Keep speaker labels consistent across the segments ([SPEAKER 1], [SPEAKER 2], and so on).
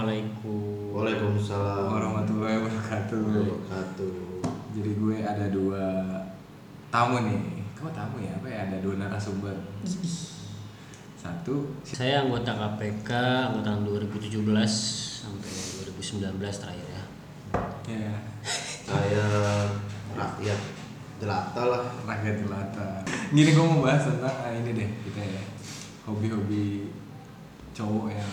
[SPEAKER 1] Assalamualaikum.
[SPEAKER 2] Waalaikumsalam
[SPEAKER 3] warahmatullahi wabarakatuh.
[SPEAKER 2] wabarakatuh.
[SPEAKER 3] Jadi gue ada dua tamu nih. Kau tamu ya? Apa ya? Ada dua narasumber. Satu
[SPEAKER 1] Saya anggota KPK angkatan 2017 sampai 2019 terakhir ya.
[SPEAKER 3] ya
[SPEAKER 2] Saya rakyat jelata lah.
[SPEAKER 3] rakyat jelata. Gini gue mau bahas tentang ah, ini deh kita ya hobi-hobi cowok yang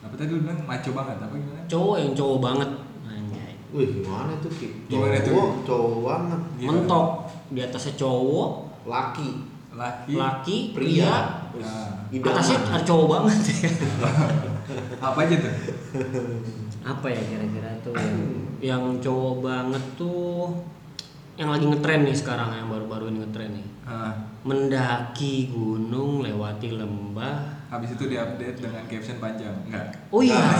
[SPEAKER 3] apa tadi lu bilang maco banget apa gimana?
[SPEAKER 1] Cowok yang cowok banget. Anjay.
[SPEAKER 2] Wih gimana tuh Ki?
[SPEAKER 3] Gimana
[SPEAKER 2] Cowok-
[SPEAKER 3] tuh?
[SPEAKER 2] Cowok banget.
[SPEAKER 3] Gimana?
[SPEAKER 1] Mentok di atasnya cowok,
[SPEAKER 2] Laki.
[SPEAKER 3] Laki.
[SPEAKER 1] laki,
[SPEAKER 2] Pria.
[SPEAKER 1] pria,
[SPEAKER 3] Ya.
[SPEAKER 2] Idaman.
[SPEAKER 1] atasnya ada cowok banget ya.
[SPEAKER 3] Apa aja tuh?
[SPEAKER 1] Apa ya kira-kira tuh yang, yang cowok banget tuh yang lagi ngetren nih sekarang yang baru-baru ini ngetren nih.
[SPEAKER 3] Ah,
[SPEAKER 1] Mendaki gunung lewati lembah
[SPEAKER 3] habis itu diupdate dengan caption panjang. Enggak.
[SPEAKER 1] Oh iya.
[SPEAKER 3] Nah.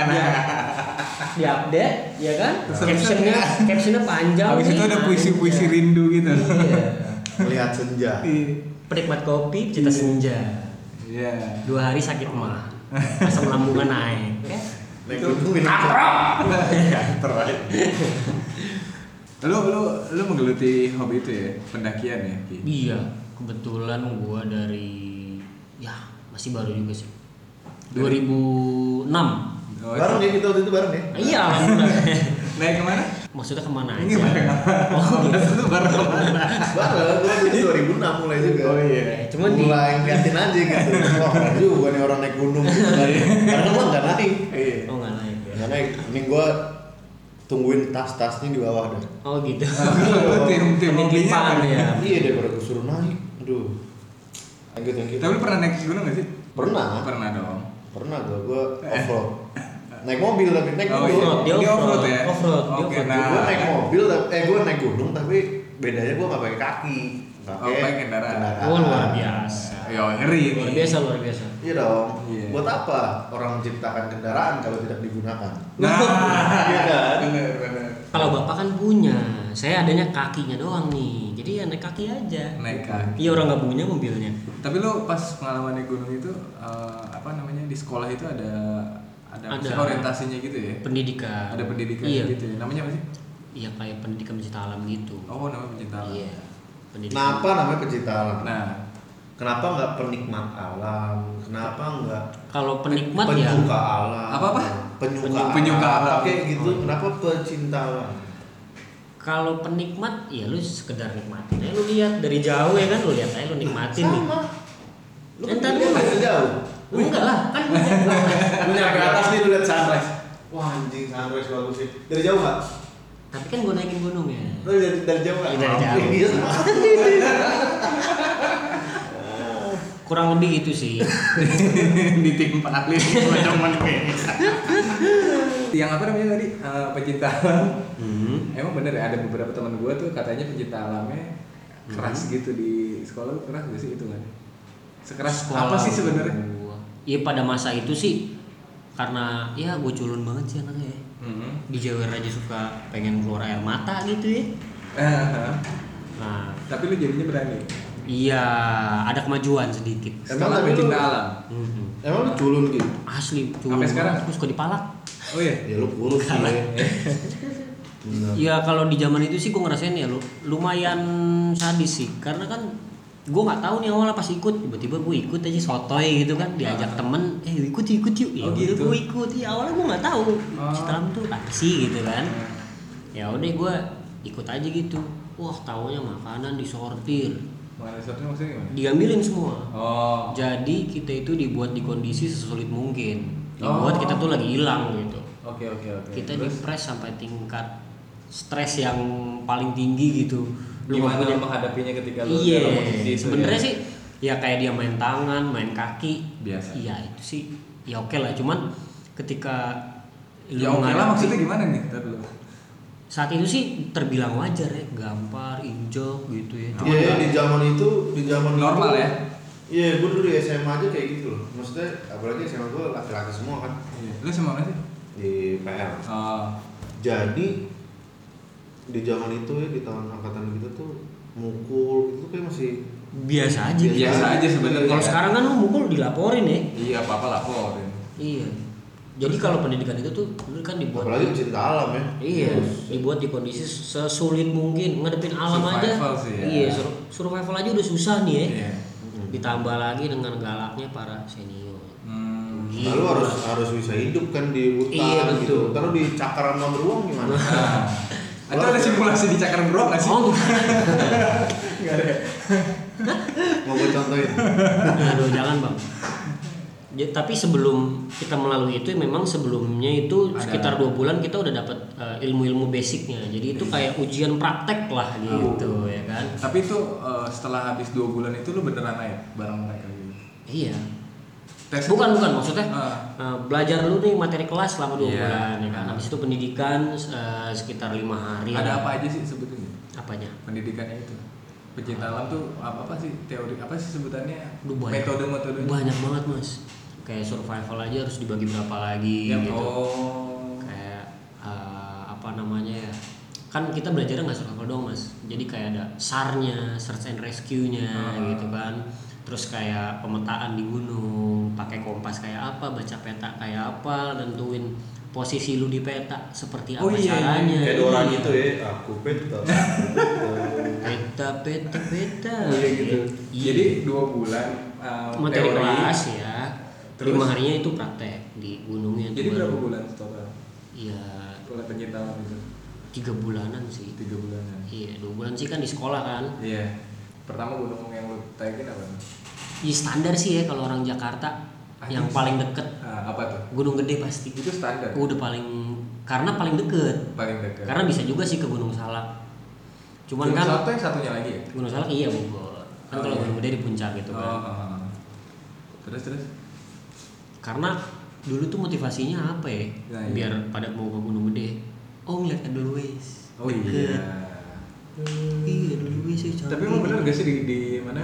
[SPEAKER 1] Iya. Diupdate, ya kan?
[SPEAKER 3] Terus
[SPEAKER 1] Captionnya, captionnya panjang.
[SPEAKER 3] Habis
[SPEAKER 1] nih.
[SPEAKER 3] itu ada
[SPEAKER 1] Nah,
[SPEAKER 3] puisi-puisi
[SPEAKER 1] iya.
[SPEAKER 3] rindu gitu.
[SPEAKER 1] Iya.
[SPEAKER 2] Melihat senja.
[SPEAKER 1] Penikmat kopi, cita senja.
[SPEAKER 3] Iya.
[SPEAKER 1] Dua hari sakit mah. Asam lambungnya naik. Ya.
[SPEAKER 2] Naik gunung ini.
[SPEAKER 3] Terakhir. lu lu lu menggeluti hobi itu ya pendakian ya Ki?
[SPEAKER 1] Iya. Kebetulan gua dari ya masih baru juga sih. 2006.
[SPEAKER 3] Oh,
[SPEAKER 2] Bareng ya kita waktu itu bareng ya.
[SPEAKER 1] Ah, Iya, alhamdulillah.
[SPEAKER 3] naik kemana?
[SPEAKER 1] Maksudnya kemana
[SPEAKER 3] Ini
[SPEAKER 1] aja?
[SPEAKER 3] bareng apa?
[SPEAKER 1] Oh,
[SPEAKER 3] itu bareng kemana?
[SPEAKER 2] Bareng. Gua waktu itu 2006 mulai juga.
[SPEAKER 3] Oh iya.
[SPEAKER 1] cuman di
[SPEAKER 2] mulai ngeliatin aja gitu. Wah keren juga nih orang naik gunung gitu dari. Karena gua nggak naik.
[SPEAKER 3] Iya.
[SPEAKER 1] Oh, nggak naik ya.
[SPEAKER 2] Nggak naik. Ini gua tungguin tas-tasnya di bawah dah.
[SPEAKER 1] Oh, gitu.
[SPEAKER 3] Lu tim tim hobinya
[SPEAKER 1] Penitipan
[SPEAKER 3] apa?
[SPEAKER 1] ya.
[SPEAKER 2] Iya daripada gua suruh naik. Aduh. Thank you, thank you.
[SPEAKER 3] Tapi lu pernah naik gunung gak sih?
[SPEAKER 2] Pernah.
[SPEAKER 3] Pernah dong.
[SPEAKER 2] Pernah gua, gua off-road Naik mobil tapi naik
[SPEAKER 3] Oh,
[SPEAKER 2] mobil
[SPEAKER 3] iya.
[SPEAKER 1] Off-road, dia
[SPEAKER 3] Dia
[SPEAKER 1] off-road.
[SPEAKER 3] off-road ya?
[SPEAKER 1] Off-road, dia
[SPEAKER 3] Oke,
[SPEAKER 1] off-road.
[SPEAKER 3] nah.
[SPEAKER 2] Gua naik mobil, tapi- eh gua naik gunung tapi bedanya gua nggak pakai kaki
[SPEAKER 3] Oh, pakai kendaraan.
[SPEAKER 1] Oh, luar biasa.
[SPEAKER 3] Ya ngeri ini.
[SPEAKER 1] Luar biasa, luar biasa.
[SPEAKER 2] Iya dong
[SPEAKER 3] Iya.
[SPEAKER 2] Buat apa orang menciptakan kendaraan kalau tidak digunakan?
[SPEAKER 3] Nah,
[SPEAKER 2] Iya kan?
[SPEAKER 3] bener bener.
[SPEAKER 1] Kalau bapak kan punya, saya adanya kakinya doang nih. Jadi ya naik kaki aja.
[SPEAKER 3] Naik kaki.
[SPEAKER 1] Iya orang nggak punya mobilnya.
[SPEAKER 3] Tapi lu pas pengalaman naik gunung itu eh, apa namanya di sekolah itu ada ada,
[SPEAKER 1] Ada.
[SPEAKER 3] maksudnya orientasinya gitu ya?
[SPEAKER 1] Pendidikan.
[SPEAKER 3] Ada pendidikan
[SPEAKER 1] Iya.
[SPEAKER 3] gitu ya. Namanya apa sih?
[SPEAKER 1] Iya kayak pendidikan pencipta alam gitu.
[SPEAKER 3] Oh, namanya pencinta alam.
[SPEAKER 1] Iya.
[SPEAKER 2] Kenapa Nah, namanya pecinta alam?
[SPEAKER 3] Nah,
[SPEAKER 2] Kenapa nggak penikmat alam? Kenapa nggak
[SPEAKER 1] Kalau penikmat ya
[SPEAKER 2] penyuka alam?
[SPEAKER 3] Apa-apa?
[SPEAKER 2] Penyuka,
[SPEAKER 3] Penyu- penyuka alam.
[SPEAKER 2] Kayak gitu,
[SPEAKER 3] Oh.
[SPEAKER 2] kenapa pecinta alam?
[SPEAKER 1] kalau penikmat ya lu sekedar nikmatin aja lu lihat dari jauh ya kan lu lihat aja lu nikmatin nih.
[SPEAKER 2] Sama Lu kan
[SPEAKER 1] Entar
[SPEAKER 2] dilihat
[SPEAKER 1] dulu.
[SPEAKER 2] dari jauh
[SPEAKER 1] Lu enggak lah kan gua-
[SPEAKER 2] Lu nyampe atas nih lu lihat sunrise. Wah anjing sunrise bagus sih. Dari jauh nggak?
[SPEAKER 1] Tapi kan gua naikin gunung ya.
[SPEAKER 2] Lu dari dari jauh nggak?
[SPEAKER 1] Iya, dari jauh.
[SPEAKER 2] Iya.
[SPEAKER 1] Kurang lebih gitu sih.
[SPEAKER 3] ditimpalin sama cuman Yang apa namanya tadi? Eh, pecinta alam.
[SPEAKER 1] Hmm.
[SPEAKER 3] Emang bener ya ada beberapa teman gua tuh katanya pecinta alamnya keras
[SPEAKER 1] Hmm.
[SPEAKER 3] gitu di sekolah lu keras gak sih itu kan? Sekeras apa sih sebenarnya?
[SPEAKER 1] gua. Iya pada masa itu sih karena ya gue culun banget sih anaknya ya.
[SPEAKER 3] Hmm.
[SPEAKER 1] Di Jawa aja suka pengen keluar air mata gitu ya.
[SPEAKER 3] Eh,
[SPEAKER 1] Nah,
[SPEAKER 3] tapi lu jadinya berani.
[SPEAKER 1] iya ada kemajuan sedikit.
[SPEAKER 3] Setelah
[SPEAKER 2] tapi lu-
[SPEAKER 3] pecinta alam.
[SPEAKER 1] Mhm.
[SPEAKER 2] Emang lu culun gitu?
[SPEAKER 1] Asli culun.
[SPEAKER 3] Sampai sekarang?
[SPEAKER 1] banget. Aku suka dipalak.
[SPEAKER 3] Oh iya.
[SPEAKER 2] Ya lu kurus sih.
[SPEAKER 1] Salah.
[SPEAKER 2] Bener.
[SPEAKER 1] Ya kalau di zaman itu sih gue ngerasain ya lu- lumayan sadis sih karena kan gue nggak tahu nih awalnya pas ikut tiba-tiba gue ikut aja sotoy gitu kan diajak temen eh ikut yuk, ikut yuk ya
[SPEAKER 3] Ah. Oh, gitu.
[SPEAKER 1] gue ikut ya awalnya gue nggak tahu
[SPEAKER 3] Oh.
[SPEAKER 1] citalam tuh apa sih gitu kan ya
[SPEAKER 3] Iya.
[SPEAKER 1] udah gue ikut aja gitu wah taunya makanan disortir
[SPEAKER 3] Mana satu maksudnya gimana?
[SPEAKER 1] diambilin semua
[SPEAKER 3] Oh.
[SPEAKER 1] jadi kita itu dibuat di kondisi sesulit mungkin dibuat
[SPEAKER 3] Oh.
[SPEAKER 1] kita tuh lagi hilang gitu
[SPEAKER 3] Oke oke oke.
[SPEAKER 1] kita
[SPEAKER 3] Terus,
[SPEAKER 1] dipres sampai tingkat stres yang paling tinggi gitu Lu nggak
[SPEAKER 3] gimana
[SPEAKER 1] punya-
[SPEAKER 3] menghadapinya ketika lu
[SPEAKER 1] iya
[SPEAKER 3] dalam posisi itu?
[SPEAKER 1] sebenarnya
[SPEAKER 3] ya?
[SPEAKER 1] sih ya kayak dia main tangan main kaki
[SPEAKER 3] Biasa.
[SPEAKER 1] iya itu sih ya oke lah cuman ketika lu
[SPEAKER 3] Ya oke lah
[SPEAKER 1] menghadapi-
[SPEAKER 3] maksudnya gimana nih? Ntar dulu.
[SPEAKER 1] saat itu sih terbilang wajar ya gampar injok gitu ya
[SPEAKER 2] Iya, iya, di zaman itu, di zaman itu-
[SPEAKER 3] Normal ya?
[SPEAKER 2] Iya, gue dulu di SMA aja kayak gitu loh. Maksudnya apalagi SMA gue laki-laki semua kan
[SPEAKER 3] Iya. Lu sama mana sih?
[SPEAKER 2] di PL.
[SPEAKER 3] Oh.
[SPEAKER 2] jadi di zaman itu ya di tahun angkatan kita tuh mukul itu kayak masih
[SPEAKER 1] biasa aja
[SPEAKER 3] Biasa
[SPEAKER 1] gitu.
[SPEAKER 3] aja Iya. sebenarnya.
[SPEAKER 1] kalau sekarang kan lu mukul dilaporin ya
[SPEAKER 3] Iya apa apa laporin.
[SPEAKER 1] iya Jadi kalau pendidikan itu tuh bener kan dibuat
[SPEAKER 2] apalagi cinta alam ya
[SPEAKER 1] Iya, dibuat di kondisi sesulit mungkin ngadepin alam
[SPEAKER 3] Survival
[SPEAKER 1] aja.
[SPEAKER 3] sih ya.
[SPEAKER 1] Iya, sur- survival aja udah susah nih ya.
[SPEAKER 3] Iya.
[SPEAKER 1] Ditambah lagi dengan galaknya para senior.
[SPEAKER 3] Hmm.
[SPEAKER 1] Gila.
[SPEAKER 2] lalu Nah, harus harus bisa hidup kan di hutan
[SPEAKER 1] Iya, betul.
[SPEAKER 2] gitu taruh di cakaran nomor beruang gimana
[SPEAKER 3] Nah, itu ada simulasi di cakar beruang nggak sih?
[SPEAKER 1] Oh,
[SPEAKER 3] Nggak ada.
[SPEAKER 2] mau gue contohin
[SPEAKER 1] Aduh, jangan bang. Ya, tapi sebelum kita melalui itu memang sebelumnya itu
[SPEAKER 3] Ada.
[SPEAKER 1] sekitar dua bulan kita udah dapat eh, ilmu-ilmu basicnya. Jadi
[SPEAKER 3] Iya.
[SPEAKER 1] itu kayak ujian praktek lah gitu ya kan.
[SPEAKER 3] Tapi itu eh, setelah habis dua bulan itu lu beneran naik bareng mereka gitu.
[SPEAKER 1] Iya.
[SPEAKER 3] Tes
[SPEAKER 1] Bukan bukan maksudnya
[SPEAKER 3] Ah.
[SPEAKER 1] eh, belajar lu nih materi kelas selama dua
[SPEAKER 3] Iya.
[SPEAKER 1] bulan ya kan. Habis itu pendidikan eh, sekitar lima hari.
[SPEAKER 3] ada apa aja sih sebetulnya
[SPEAKER 1] Apanya?
[SPEAKER 3] pendidikannya itu? Pecinta alam tuh apa apa sih teori apa sih sebutannya?
[SPEAKER 1] Duh, banyak.
[SPEAKER 3] Metode metodenya?
[SPEAKER 1] Banyak banget mas. Kayak survival aja harus dibagi berapa lagi
[SPEAKER 3] Ya,
[SPEAKER 1] gitu.
[SPEAKER 3] oh.
[SPEAKER 1] kayak eh, apa namanya ya kan kita belajarnya nggak survival doang mas jadi kayak ada sarnya search and rescue-nya
[SPEAKER 3] Hmm.
[SPEAKER 1] gitu kan terus kayak pemetaan di gunung pakai kompas kayak apa baca peta kayak apa tentuin posisi lu di peta seperti apa
[SPEAKER 3] Oh iya, iya.
[SPEAKER 1] caranya
[SPEAKER 2] kayak Dora gitu ya aku peta
[SPEAKER 1] peta peta peta
[SPEAKER 3] Oh, iya gitu.
[SPEAKER 1] Iya.
[SPEAKER 3] Jadi dua bulan eh,
[SPEAKER 1] materi
[SPEAKER 3] teori.
[SPEAKER 1] kelas ya
[SPEAKER 3] Terus?
[SPEAKER 1] lima harinya itu praktek di gunungnya
[SPEAKER 3] Jadi berapa bulan total?
[SPEAKER 1] iya
[SPEAKER 3] Kalau pecinta alam itu
[SPEAKER 1] tiga bulanan sih
[SPEAKER 3] tiga bulanan.
[SPEAKER 1] iya dua bulan sih kan di sekolah kan
[SPEAKER 3] Iya. Pertama gunung yang lu tagin apa?
[SPEAKER 1] Ya standar sih ya kalau orang Jakarta yang
[SPEAKER 3] Anjing.
[SPEAKER 1] paling deket
[SPEAKER 3] Ah, apa tuh?
[SPEAKER 1] Gunung Gede pasti.
[SPEAKER 3] Itu standar.
[SPEAKER 1] Udah paling karena paling deket.
[SPEAKER 3] Paling dekat.
[SPEAKER 1] Karena bisa juga sih ke Gunung Salak. Cuman
[SPEAKER 3] Iya. Gunung
[SPEAKER 1] kan
[SPEAKER 3] Salto yang satunya lagi ya?
[SPEAKER 1] Gunung Salak iya Bogor. Kan
[SPEAKER 3] Oh,
[SPEAKER 1] kalau
[SPEAKER 3] iya.
[SPEAKER 1] Gunung Gede di puncak gitu
[SPEAKER 3] Oh,
[SPEAKER 1] kan.
[SPEAKER 3] oh, oh. Terus terus.
[SPEAKER 1] Karena dulu tuh motivasinya apa ya?
[SPEAKER 3] Nah, iya.
[SPEAKER 1] Biar pada mau ke Gunung Gede. Oh ngeliat Edelweiss
[SPEAKER 3] Oh iya.
[SPEAKER 1] Iya Edelweiss ya
[SPEAKER 3] Tapi
[SPEAKER 1] cantik.
[SPEAKER 3] emang bener gak sih di, di mana?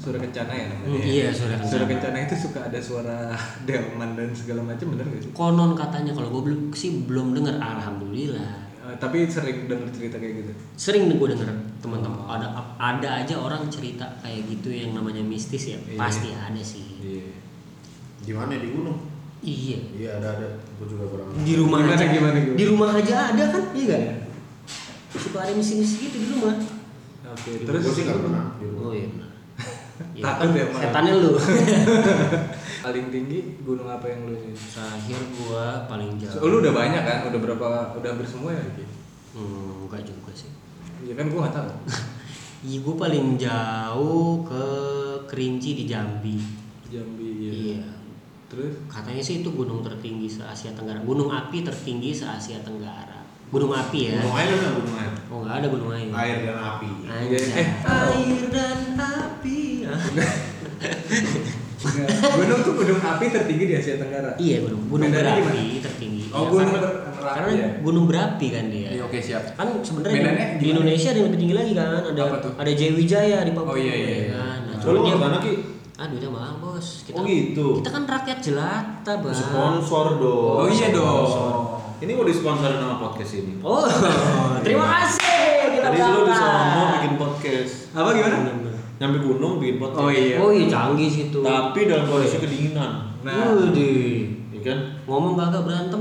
[SPEAKER 3] Suara kencana ya namanya?
[SPEAKER 1] Hmm, iya, Suara Kencana.
[SPEAKER 3] Suara kencana itu suka ada suara delman dan segala macam bener gak sih?
[SPEAKER 1] Konon katanya kalau gue belum sih belum dengar. Alhamdulillah.
[SPEAKER 3] Eh, tapi sering denger cerita kayak gitu.
[SPEAKER 1] sering nih gue denger teman-teman ada ada aja orang cerita kayak gitu yang namanya mistis ya
[SPEAKER 3] Iya.
[SPEAKER 1] pasti ada sih
[SPEAKER 3] Iya.
[SPEAKER 2] di mana ya, di gunung
[SPEAKER 1] iya
[SPEAKER 2] iya ada ada aku juga kurang
[SPEAKER 3] Iya,
[SPEAKER 1] di rumah
[SPEAKER 3] Gimana,
[SPEAKER 1] aja
[SPEAKER 3] gimana, gimana?
[SPEAKER 1] di rumah aja ada kan iya kan
[SPEAKER 3] Iya.
[SPEAKER 1] suka ada misi-misi gitu di rumah
[SPEAKER 3] Oke,
[SPEAKER 1] Di
[SPEAKER 3] terus
[SPEAKER 2] gue sih nggak pernah di
[SPEAKER 1] oh
[SPEAKER 2] gunung
[SPEAKER 1] iya ya,
[SPEAKER 3] Takut
[SPEAKER 1] kan
[SPEAKER 3] ya, Mak?
[SPEAKER 1] setannya lu
[SPEAKER 3] paling tinggi gunung apa yang lu ini?
[SPEAKER 1] terakhir gua paling jauh
[SPEAKER 3] lu udah banyak kan? Udah berapa? Udah hampir semua ya? Ki?
[SPEAKER 1] hmm, enggak juga sih
[SPEAKER 3] Ya kan gua nggak tahu.
[SPEAKER 1] Iya, gua paling jauh ke Kerinci di Jambi
[SPEAKER 3] Jambi.
[SPEAKER 1] iya.
[SPEAKER 3] Terus?
[SPEAKER 1] Katanya sih itu gunung tertinggi se Asia Tenggara. Gunung api tertinggi se Asia Tenggara. Gunung api ya.
[SPEAKER 2] gunung air kan gunung air
[SPEAKER 1] Oh nggak ada gunung air.
[SPEAKER 3] Iya.
[SPEAKER 2] air dan api
[SPEAKER 1] Anjay.
[SPEAKER 3] Eh,
[SPEAKER 1] air dan api. Ah.
[SPEAKER 3] gunung tuh gunung api tertinggi di Asia Tenggara.
[SPEAKER 1] iya gunung gunung berapi
[SPEAKER 3] Bedanya gimana?
[SPEAKER 1] tertinggi.
[SPEAKER 3] Oh,
[SPEAKER 1] Iya,
[SPEAKER 3] gunung
[SPEAKER 1] karena,
[SPEAKER 3] ber- berapi
[SPEAKER 1] karena
[SPEAKER 3] ya.
[SPEAKER 1] gunung berapi kan dia.
[SPEAKER 3] Iya, oke siap.
[SPEAKER 1] Kan sebenarnya
[SPEAKER 3] Bedanya
[SPEAKER 1] di- di,
[SPEAKER 3] gimana?
[SPEAKER 1] Indonesia ada yang lebih tinggi lagi kan. Ada
[SPEAKER 3] Apa tuh?
[SPEAKER 1] ada Jaya di Papua.
[SPEAKER 3] Oh, iya, iya,
[SPEAKER 1] ya
[SPEAKER 3] iya.
[SPEAKER 1] kan? Nah,
[SPEAKER 2] Nah,
[SPEAKER 1] cuma
[SPEAKER 2] lu
[SPEAKER 1] dia
[SPEAKER 2] mana ki
[SPEAKER 1] Aduh, dia mahal bos. Kita,
[SPEAKER 2] Oh, gitu.
[SPEAKER 1] Kita kan rakyat jelata bang.
[SPEAKER 2] sponsor dong
[SPEAKER 3] Oh, iya dong.
[SPEAKER 2] ini gue disponsorin sama podcast ini
[SPEAKER 1] Oh, terima kasih.
[SPEAKER 3] iya,
[SPEAKER 1] Kita
[SPEAKER 2] Tadi lu di sono
[SPEAKER 1] berangkat.
[SPEAKER 2] bikin podcast.
[SPEAKER 3] Apa gimana?
[SPEAKER 2] Nyampe gunung bikin podcast.
[SPEAKER 3] Oh iya.
[SPEAKER 1] Oh iya canggih sih itu.
[SPEAKER 2] Tapi dalam kondisi kedinginan.
[SPEAKER 3] Nah,
[SPEAKER 1] Widih.
[SPEAKER 2] Ya kan?
[SPEAKER 1] ngomong kagak berantem.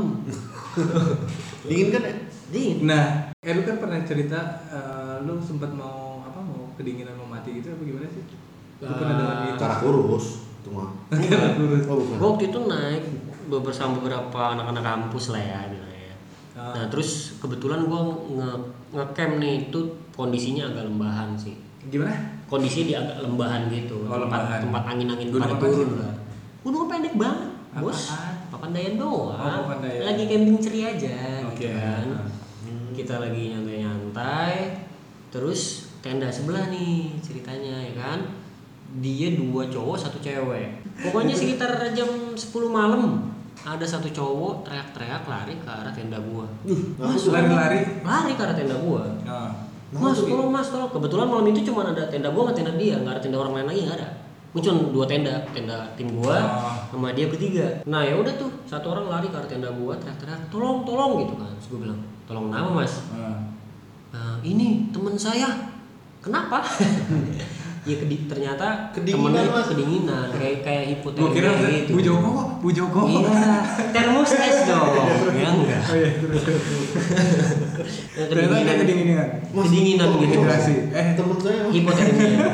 [SPEAKER 2] Dingin kan ya?
[SPEAKER 1] Ding.
[SPEAKER 3] nah, eh, lu kan pernah cerita eh, lu sempat mau apa mau kedinginan mau mati gitu apa gimana sih? Lu pernah dengar
[SPEAKER 1] Eh,
[SPEAKER 3] gitu?
[SPEAKER 2] Cara kurus. Itu mah. Oh
[SPEAKER 1] Gue
[SPEAKER 2] bukan.
[SPEAKER 1] waktu itu naik bersama beberapa anak-anak kampus lah ya. gitu ya.
[SPEAKER 3] Ah.
[SPEAKER 1] Nah terus kebetulan gue nge ngecamp nih itu kondisinya agak lembahan sih.
[SPEAKER 3] Gimana?
[SPEAKER 1] Kondisinya di agak lembahan gitu.
[SPEAKER 3] Oh, lembahan.
[SPEAKER 1] Tempat, tempat angin-angin
[SPEAKER 3] Gunung
[SPEAKER 1] pada
[SPEAKER 3] apa
[SPEAKER 1] turun
[SPEAKER 3] sih?
[SPEAKER 1] lah. Gunung pendek banget, bos.
[SPEAKER 3] Apaan?
[SPEAKER 1] Papandayan doang.
[SPEAKER 3] Oh, Papandayan.
[SPEAKER 1] Lagi camping ceria aja.
[SPEAKER 3] Oke.
[SPEAKER 1] Gitu kan.
[SPEAKER 3] Ah.
[SPEAKER 1] kita lagi nyantai-nyantai terus tenda sebelah nih ceritanya ya kan dia dua cowok satu cewek pokoknya sekitar jam 10 malam ada satu cowok teriak-teriak lari ke arah tenda gua Mas,
[SPEAKER 3] lari-lari.
[SPEAKER 1] lari ke arah tenda gua
[SPEAKER 3] Nah,
[SPEAKER 1] mas tolong mas tolong kebetulan malam itu cuma ada tenda gua sama tenda dia nggak ada tenda orang lain lagi nggak ada muncul dua tenda tenda tim gua
[SPEAKER 3] Ah.
[SPEAKER 1] sama dia bertiga nah ya udah tuh satu orang lari ke arah tenda gua teriak-teriak tolong tolong gitu kan terus gua bilang tolong kenapa mas "Eh,
[SPEAKER 3] ah.
[SPEAKER 1] Nah, ini teman saya. Kenapa? ya kedi- ternyata
[SPEAKER 2] Kedinginan,
[SPEAKER 1] temennya
[SPEAKER 2] Mas.
[SPEAKER 1] kedinginan kayak kayak hipotermia
[SPEAKER 3] Gue kira
[SPEAKER 1] gitu
[SPEAKER 3] Bu Joko, kok, Bu Joko.
[SPEAKER 1] iya termos es dong ya enggak
[SPEAKER 3] Oh iya, terus.
[SPEAKER 1] Yang
[SPEAKER 3] Ternyata dia
[SPEAKER 1] kedinginan
[SPEAKER 3] kedinginan.
[SPEAKER 1] kedinginan
[SPEAKER 2] Mas,
[SPEAKER 1] gitu
[SPEAKER 3] Hidrasi.
[SPEAKER 2] Eh,
[SPEAKER 3] Eh,
[SPEAKER 2] temen saya
[SPEAKER 1] hipotermia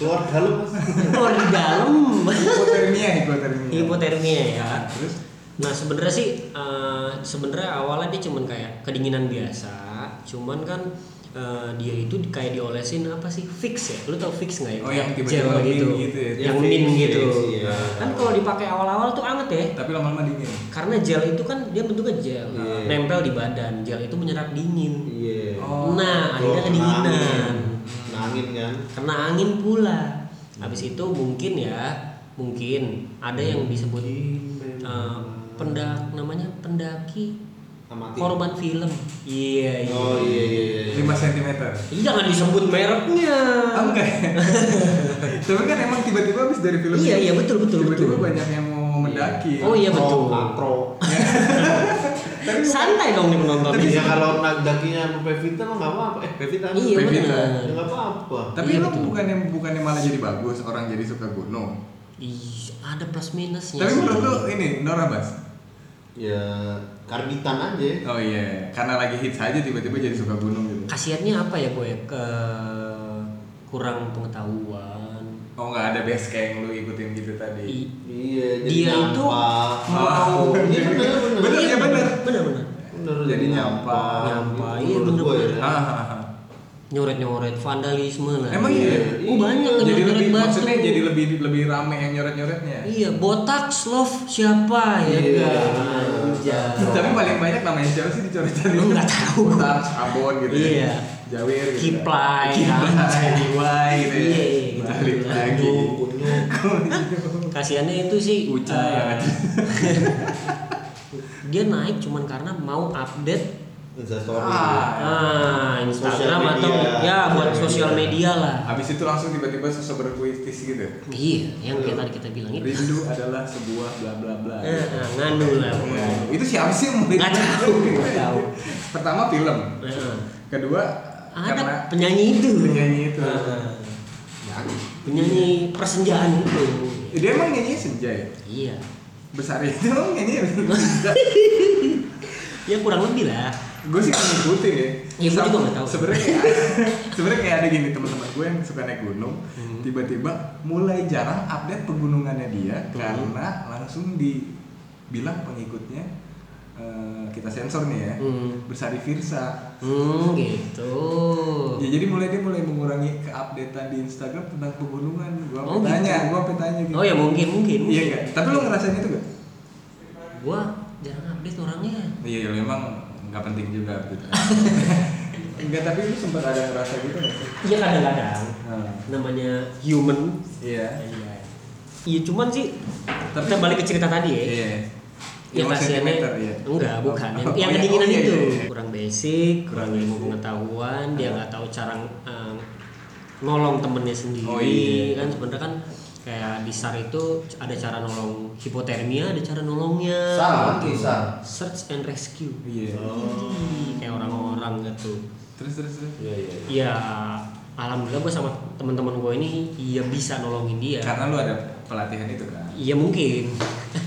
[SPEAKER 2] keluar dalam mas.
[SPEAKER 1] keluar di dalam
[SPEAKER 3] hipotermia, hipotermia.
[SPEAKER 1] hipotermia ya
[SPEAKER 3] Nah, Terus
[SPEAKER 1] Nah sebenarnya sih eh, sebenarnya awalnya dia cuman kayak kedinginan biasa, cuman kan eh, dia itu di- kayak diolesin apa sih fix ya? Lu tau fix nggak ya?
[SPEAKER 3] Oh,
[SPEAKER 1] Kayak
[SPEAKER 3] yang tiba-tiba
[SPEAKER 1] gel
[SPEAKER 3] min
[SPEAKER 1] gitu,
[SPEAKER 3] gitu ya.
[SPEAKER 1] yang
[SPEAKER 2] Ya,
[SPEAKER 1] min
[SPEAKER 2] fix,
[SPEAKER 1] gitu.
[SPEAKER 2] fix, iya.
[SPEAKER 1] Kan kalau dipakai awal-awal tuh anget ya,
[SPEAKER 3] tapi lama-lama dingin.
[SPEAKER 1] karena gel itu kan dia bentuknya gel,
[SPEAKER 2] Iya.
[SPEAKER 1] nempel di badan. Gel itu menyerap dingin.
[SPEAKER 2] Iya.
[SPEAKER 3] Oh.
[SPEAKER 1] Nah
[SPEAKER 2] Keluar
[SPEAKER 1] akhirnya
[SPEAKER 2] kena
[SPEAKER 1] kedinginan,
[SPEAKER 2] angin. Kena angin kan.
[SPEAKER 1] kena angin pula.
[SPEAKER 3] Hmm.
[SPEAKER 1] Habis itu mungkin ya, mungkin ada yang
[SPEAKER 3] Hmm.
[SPEAKER 1] disebut eh, pendak namanya pendaki
[SPEAKER 2] Amati.
[SPEAKER 1] korban film iya iya
[SPEAKER 2] Oh iya iya iya.
[SPEAKER 3] 5 cm.
[SPEAKER 1] Ih, jangan disebut mereknya
[SPEAKER 3] Oh, enggak. tapi kan emang tiba-tiba habis dari film.
[SPEAKER 1] Iya,
[SPEAKER 3] ini,
[SPEAKER 1] iya, betul, betul,
[SPEAKER 3] Tiba-tiba
[SPEAKER 1] betul.
[SPEAKER 3] banyak yang mau mendaki.
[SPEAKER 1] Oh, iya,
[SPEAKER 2] Pro,
[SPEAKER 1] betul.
[SPEAKER 2] Makro.
[SPEAKER 3] Tapi
[SPEAKER 1] santai dong nih penontonnya
[SPEAKER 2] Ya kalau dakinya sampai Pevita mah nggak apa-apa. Eh Pevita.
[SPEAKER 1] iya
[SPEAKER 3] Baby
[SPEAKER 1] benar
[SPEAKER 3] lah.
[SPEAKER 2] Ya nggak apa-apa.
[SPEAKER 3] tapi
[SPEAKER 1] Iya,
[SPEAKER 3] lu
[SPEAKER 1] betul.
[SPEAKER 3] bukannya bukannya malah jadi bagus orang jadi suka gunung.
[SPEAKER 1] ih ada plus minusnya
[SPEAKER 3] Tapi
[SPEAKER 1] Iya sih.
[SPEAKER 3] menurut lu ini Nora Bas.
[SPEAKER 2] Ya karbitan aja.
[SPEAKER 3] Oh iya, karena lagi hits aja tiba-tiba jadi suka gunung gitu.
[SPEAKER 1] kasiatnya apa ya gue ke kurang pengetahuan
[SPEAKER 3] Oh nggak ada base camp lu ikutin gitu tadi.
[SPEAKER 1] I-
[SPEAKER 2] Iya. jadi
[SPEAKER 1] dia itu
[SPEAKER 2] nyampah.
[SPEAKER 1] mau
[SPEAKER 2] Iya bener bener.
[SPEAKER 3] Bener,
[SPEAKER 1] Iya,
[SPEAKER 3] ya, bener.
[SPEAKER 1] bener bener
[SPEAKER 2] Bener,
[SPEAKER 3] Jadi nyampah.
[SPEAKER 1] Nyampah,
[SPEAKER 2] Itu
[SPEAKER 1] iya,
[SPEAKER 2] menurut
[SPEAKER 1] bener,
[SPEAKER 2] gua
[SPEAKER 1] bener.
[SPEAKER 2] ya.
[SPEAKER 3] Ah, ah, ah.
[SPEAKER 1] nyoret nyoret vandalisme lah
[SPEAKER 3] Emang iya?
[SPEAKER 1] oh banyak yang
[SPEAKER 3] jadi
[SPEAKER 1] nyoret
[SPEAKER 3] lebih
[SPEAKER 1] batu
[SPEAKER 3] maksudnya jadi lebih lebih rame yang nyoret nyoretnya.
[SPEAKER 1] iya botak love siapa ya
[SPEAKER 2] Iya,
[SPEAKER 1] kan?
[SPEAKER 2] bener.
[SPEAKER 1] Anjay.
[SPEAKER 3] Tapi paling banyak namanya siapa sih dicoret coret
[SPEAKER 1] Lu nggak tahu.
[SPEAKER 3] Ambon gitu.
[SPEAKER 1] Iya.
[SPEAKER 3] Ya. Jawir. Gitu.
[SPEAKER 1] Kiplai,
[SPEAKER 3] Kiplai,
[SPEAKER 1] anjay.
[SPEAKER 3] Kiplai gitu. ya.
[SPEAKER 1] Iya, iya,
[SPEAKER 3] Balik
[SPEAKER 1] gitu.
[SPEAKER 3] lagi.
[SPEAKER 2] Kunyuk, kunyuk.
[SPEAKER 1] kasihannya itu sih
[SPEAKER 3] Uca ya.
[SPEAKER 1] eh, dia naik cuman karena mau update
[SPEAKER 2] Instastory.
[SPEAKER 3] Ah.
[SPEAKER 1] ah, Instagram
[SPEAKER 2] Sosial
[SPEAKER 1] atau
[SPEAKER 2] media.
[SPEAKER 1] ya buat sosial
[SPEAKER 2] Sosial
[SPEAKER 1] media lah
[SPEAKER 3] Habis itu langsung tiba-tiba sosok berpuitis gitu.
[SPEAKER 1] iya yang kayak tadi kita bilang itu
[SPEAKER 3] Rindu adalah sebuah bla bla bla.
[SPEAKER 1] Eh, eh, nganu lah
[SPEAKER 3] Ya,
[SPEAKER 1] pokoknya.
[SPEAKER 3] Itu siapa sih yang mulai?
[SPEAKER 1] Nggak tahu, nggak tahu.
[SPEAKER 3] Pertama film,
[SPEAKER 1] Eh, eh.
[SPEAKER 3] kedua
[SPEAKER 1] ada
[SPEAKER 3] karena
[SPEAKER 1] penyanyi itu
[SPEAKER 3] penyanyi itu.
[SPEAKER 1] Eh, eh.
[SPEAKER 3] Ya,
[SPEAKER 1] penyanyi persenjaan itu
[SPEAKER 3] dia emang nyanyi senja ya?
[SPEAKER 1] iya
[SPEAKER 3] Besar itu emang nyanyi senja.
[SPEAKER 1] ya kurang lebih lah
[SPEAKER 3] gue sih ngikutin ya.
[SPEAKER 1] Iya, gua juga nggak tahu.
[SPEAKER 3] Sebenarnya kayak- sebenarnya kayak ada gini teman-teman gue yang suka naik gunung,
[SPEAKER 1] Hmm.
[SPEAKER 3] tiba-tiba mulai jarang update pegunungannya dia
[SPEAKER 1] Hmm.
[SPEAKER 3] karena langsung dibilang pengikutnya eh, kita sensor nih ya
[SPEAKER 1] Hmm.
[SPEAKER 3] bersari Firsa.
[SPEAKER 1] hmm gitu
[SPEAKER 3] Ya jadi mulai dia mulai mengurangi keupdatean di Instagram tentang pegunungan. Gua
[SPEAKER 1] Oh,
[SPEAKER 3] oh, tanya,
[SPEAKER 1] gitu.
[SPEAKER 3] gua sampai tanya gitu.
[SPEAKER 1] oh ya mungkin mungkin
[SPEAKER 3] Iya enggak? Tapi lu ngerasain itu enggak?
[SPEAKER 1] gua jarang update orangnya
[SPEAKER 3] Iya, lu emang enggak penting juga update. enggak, tapi lu sempat ada ngerasa gitu enggak sih?
[SPEAKER 1] iya kadang-kadang namanya human
[SPEAKER 3] Iya.
[SPEAKER 1] Iya cuman sih
[SPEAKER 3] Tapi-
[SPEAKER 1] kita balik ke cerita tadi ya.
[SPEAKER 3] Iya.
[SPEAKER 1] Ya
[SPEAKER 3] Yang
[SPEAKER 1] kasihannya
[SPEAKER 3] sentimeter, iya.
[SPEAKER 1] enggak bukan yang,
[SPEAKER 3] Oh,
[SPEAKER 1] yang
[SPEAKER 3] iya,
[SPEAKER 1] kedinginan
[SPEAKER 3] oh, iya,
[SPEAKER 1] itu
[SPEAKER 3] iya, iya.
[SPEAKER 1] kurang basic, kurang ilmu pengetahuan, dia nggak tahu cara eh, nolong temennya sendiri
[SPEAKER 3] Oh, iya.
[SPEAKER 1] kan sebenarnya kan kayak di SAR itu ada cara nolong hipotermia, ada cara nolongnya.
[SPEAKER 2] Sar,
[SPEAKER 1] Gitu.
[SPEAKER 2] sar.
[SPEAKER 1] Search and rescue.
[SPEAKER 3] Iya.
[SPEAKER 1] Oh. Ih, Kayak orang-orang gitu.
[SPEAKER 3] Terus terus terus.
[SPEAKER 2] Iya iya.
[SPEAKER 1] Ya alhamdulillah gue sama teman-teman gue ini ya bisa nolongin dia.
[SPEAKER 3] Karena lu ada pelatihan itu kan.
[SPEAKER 1] Iya mungkin.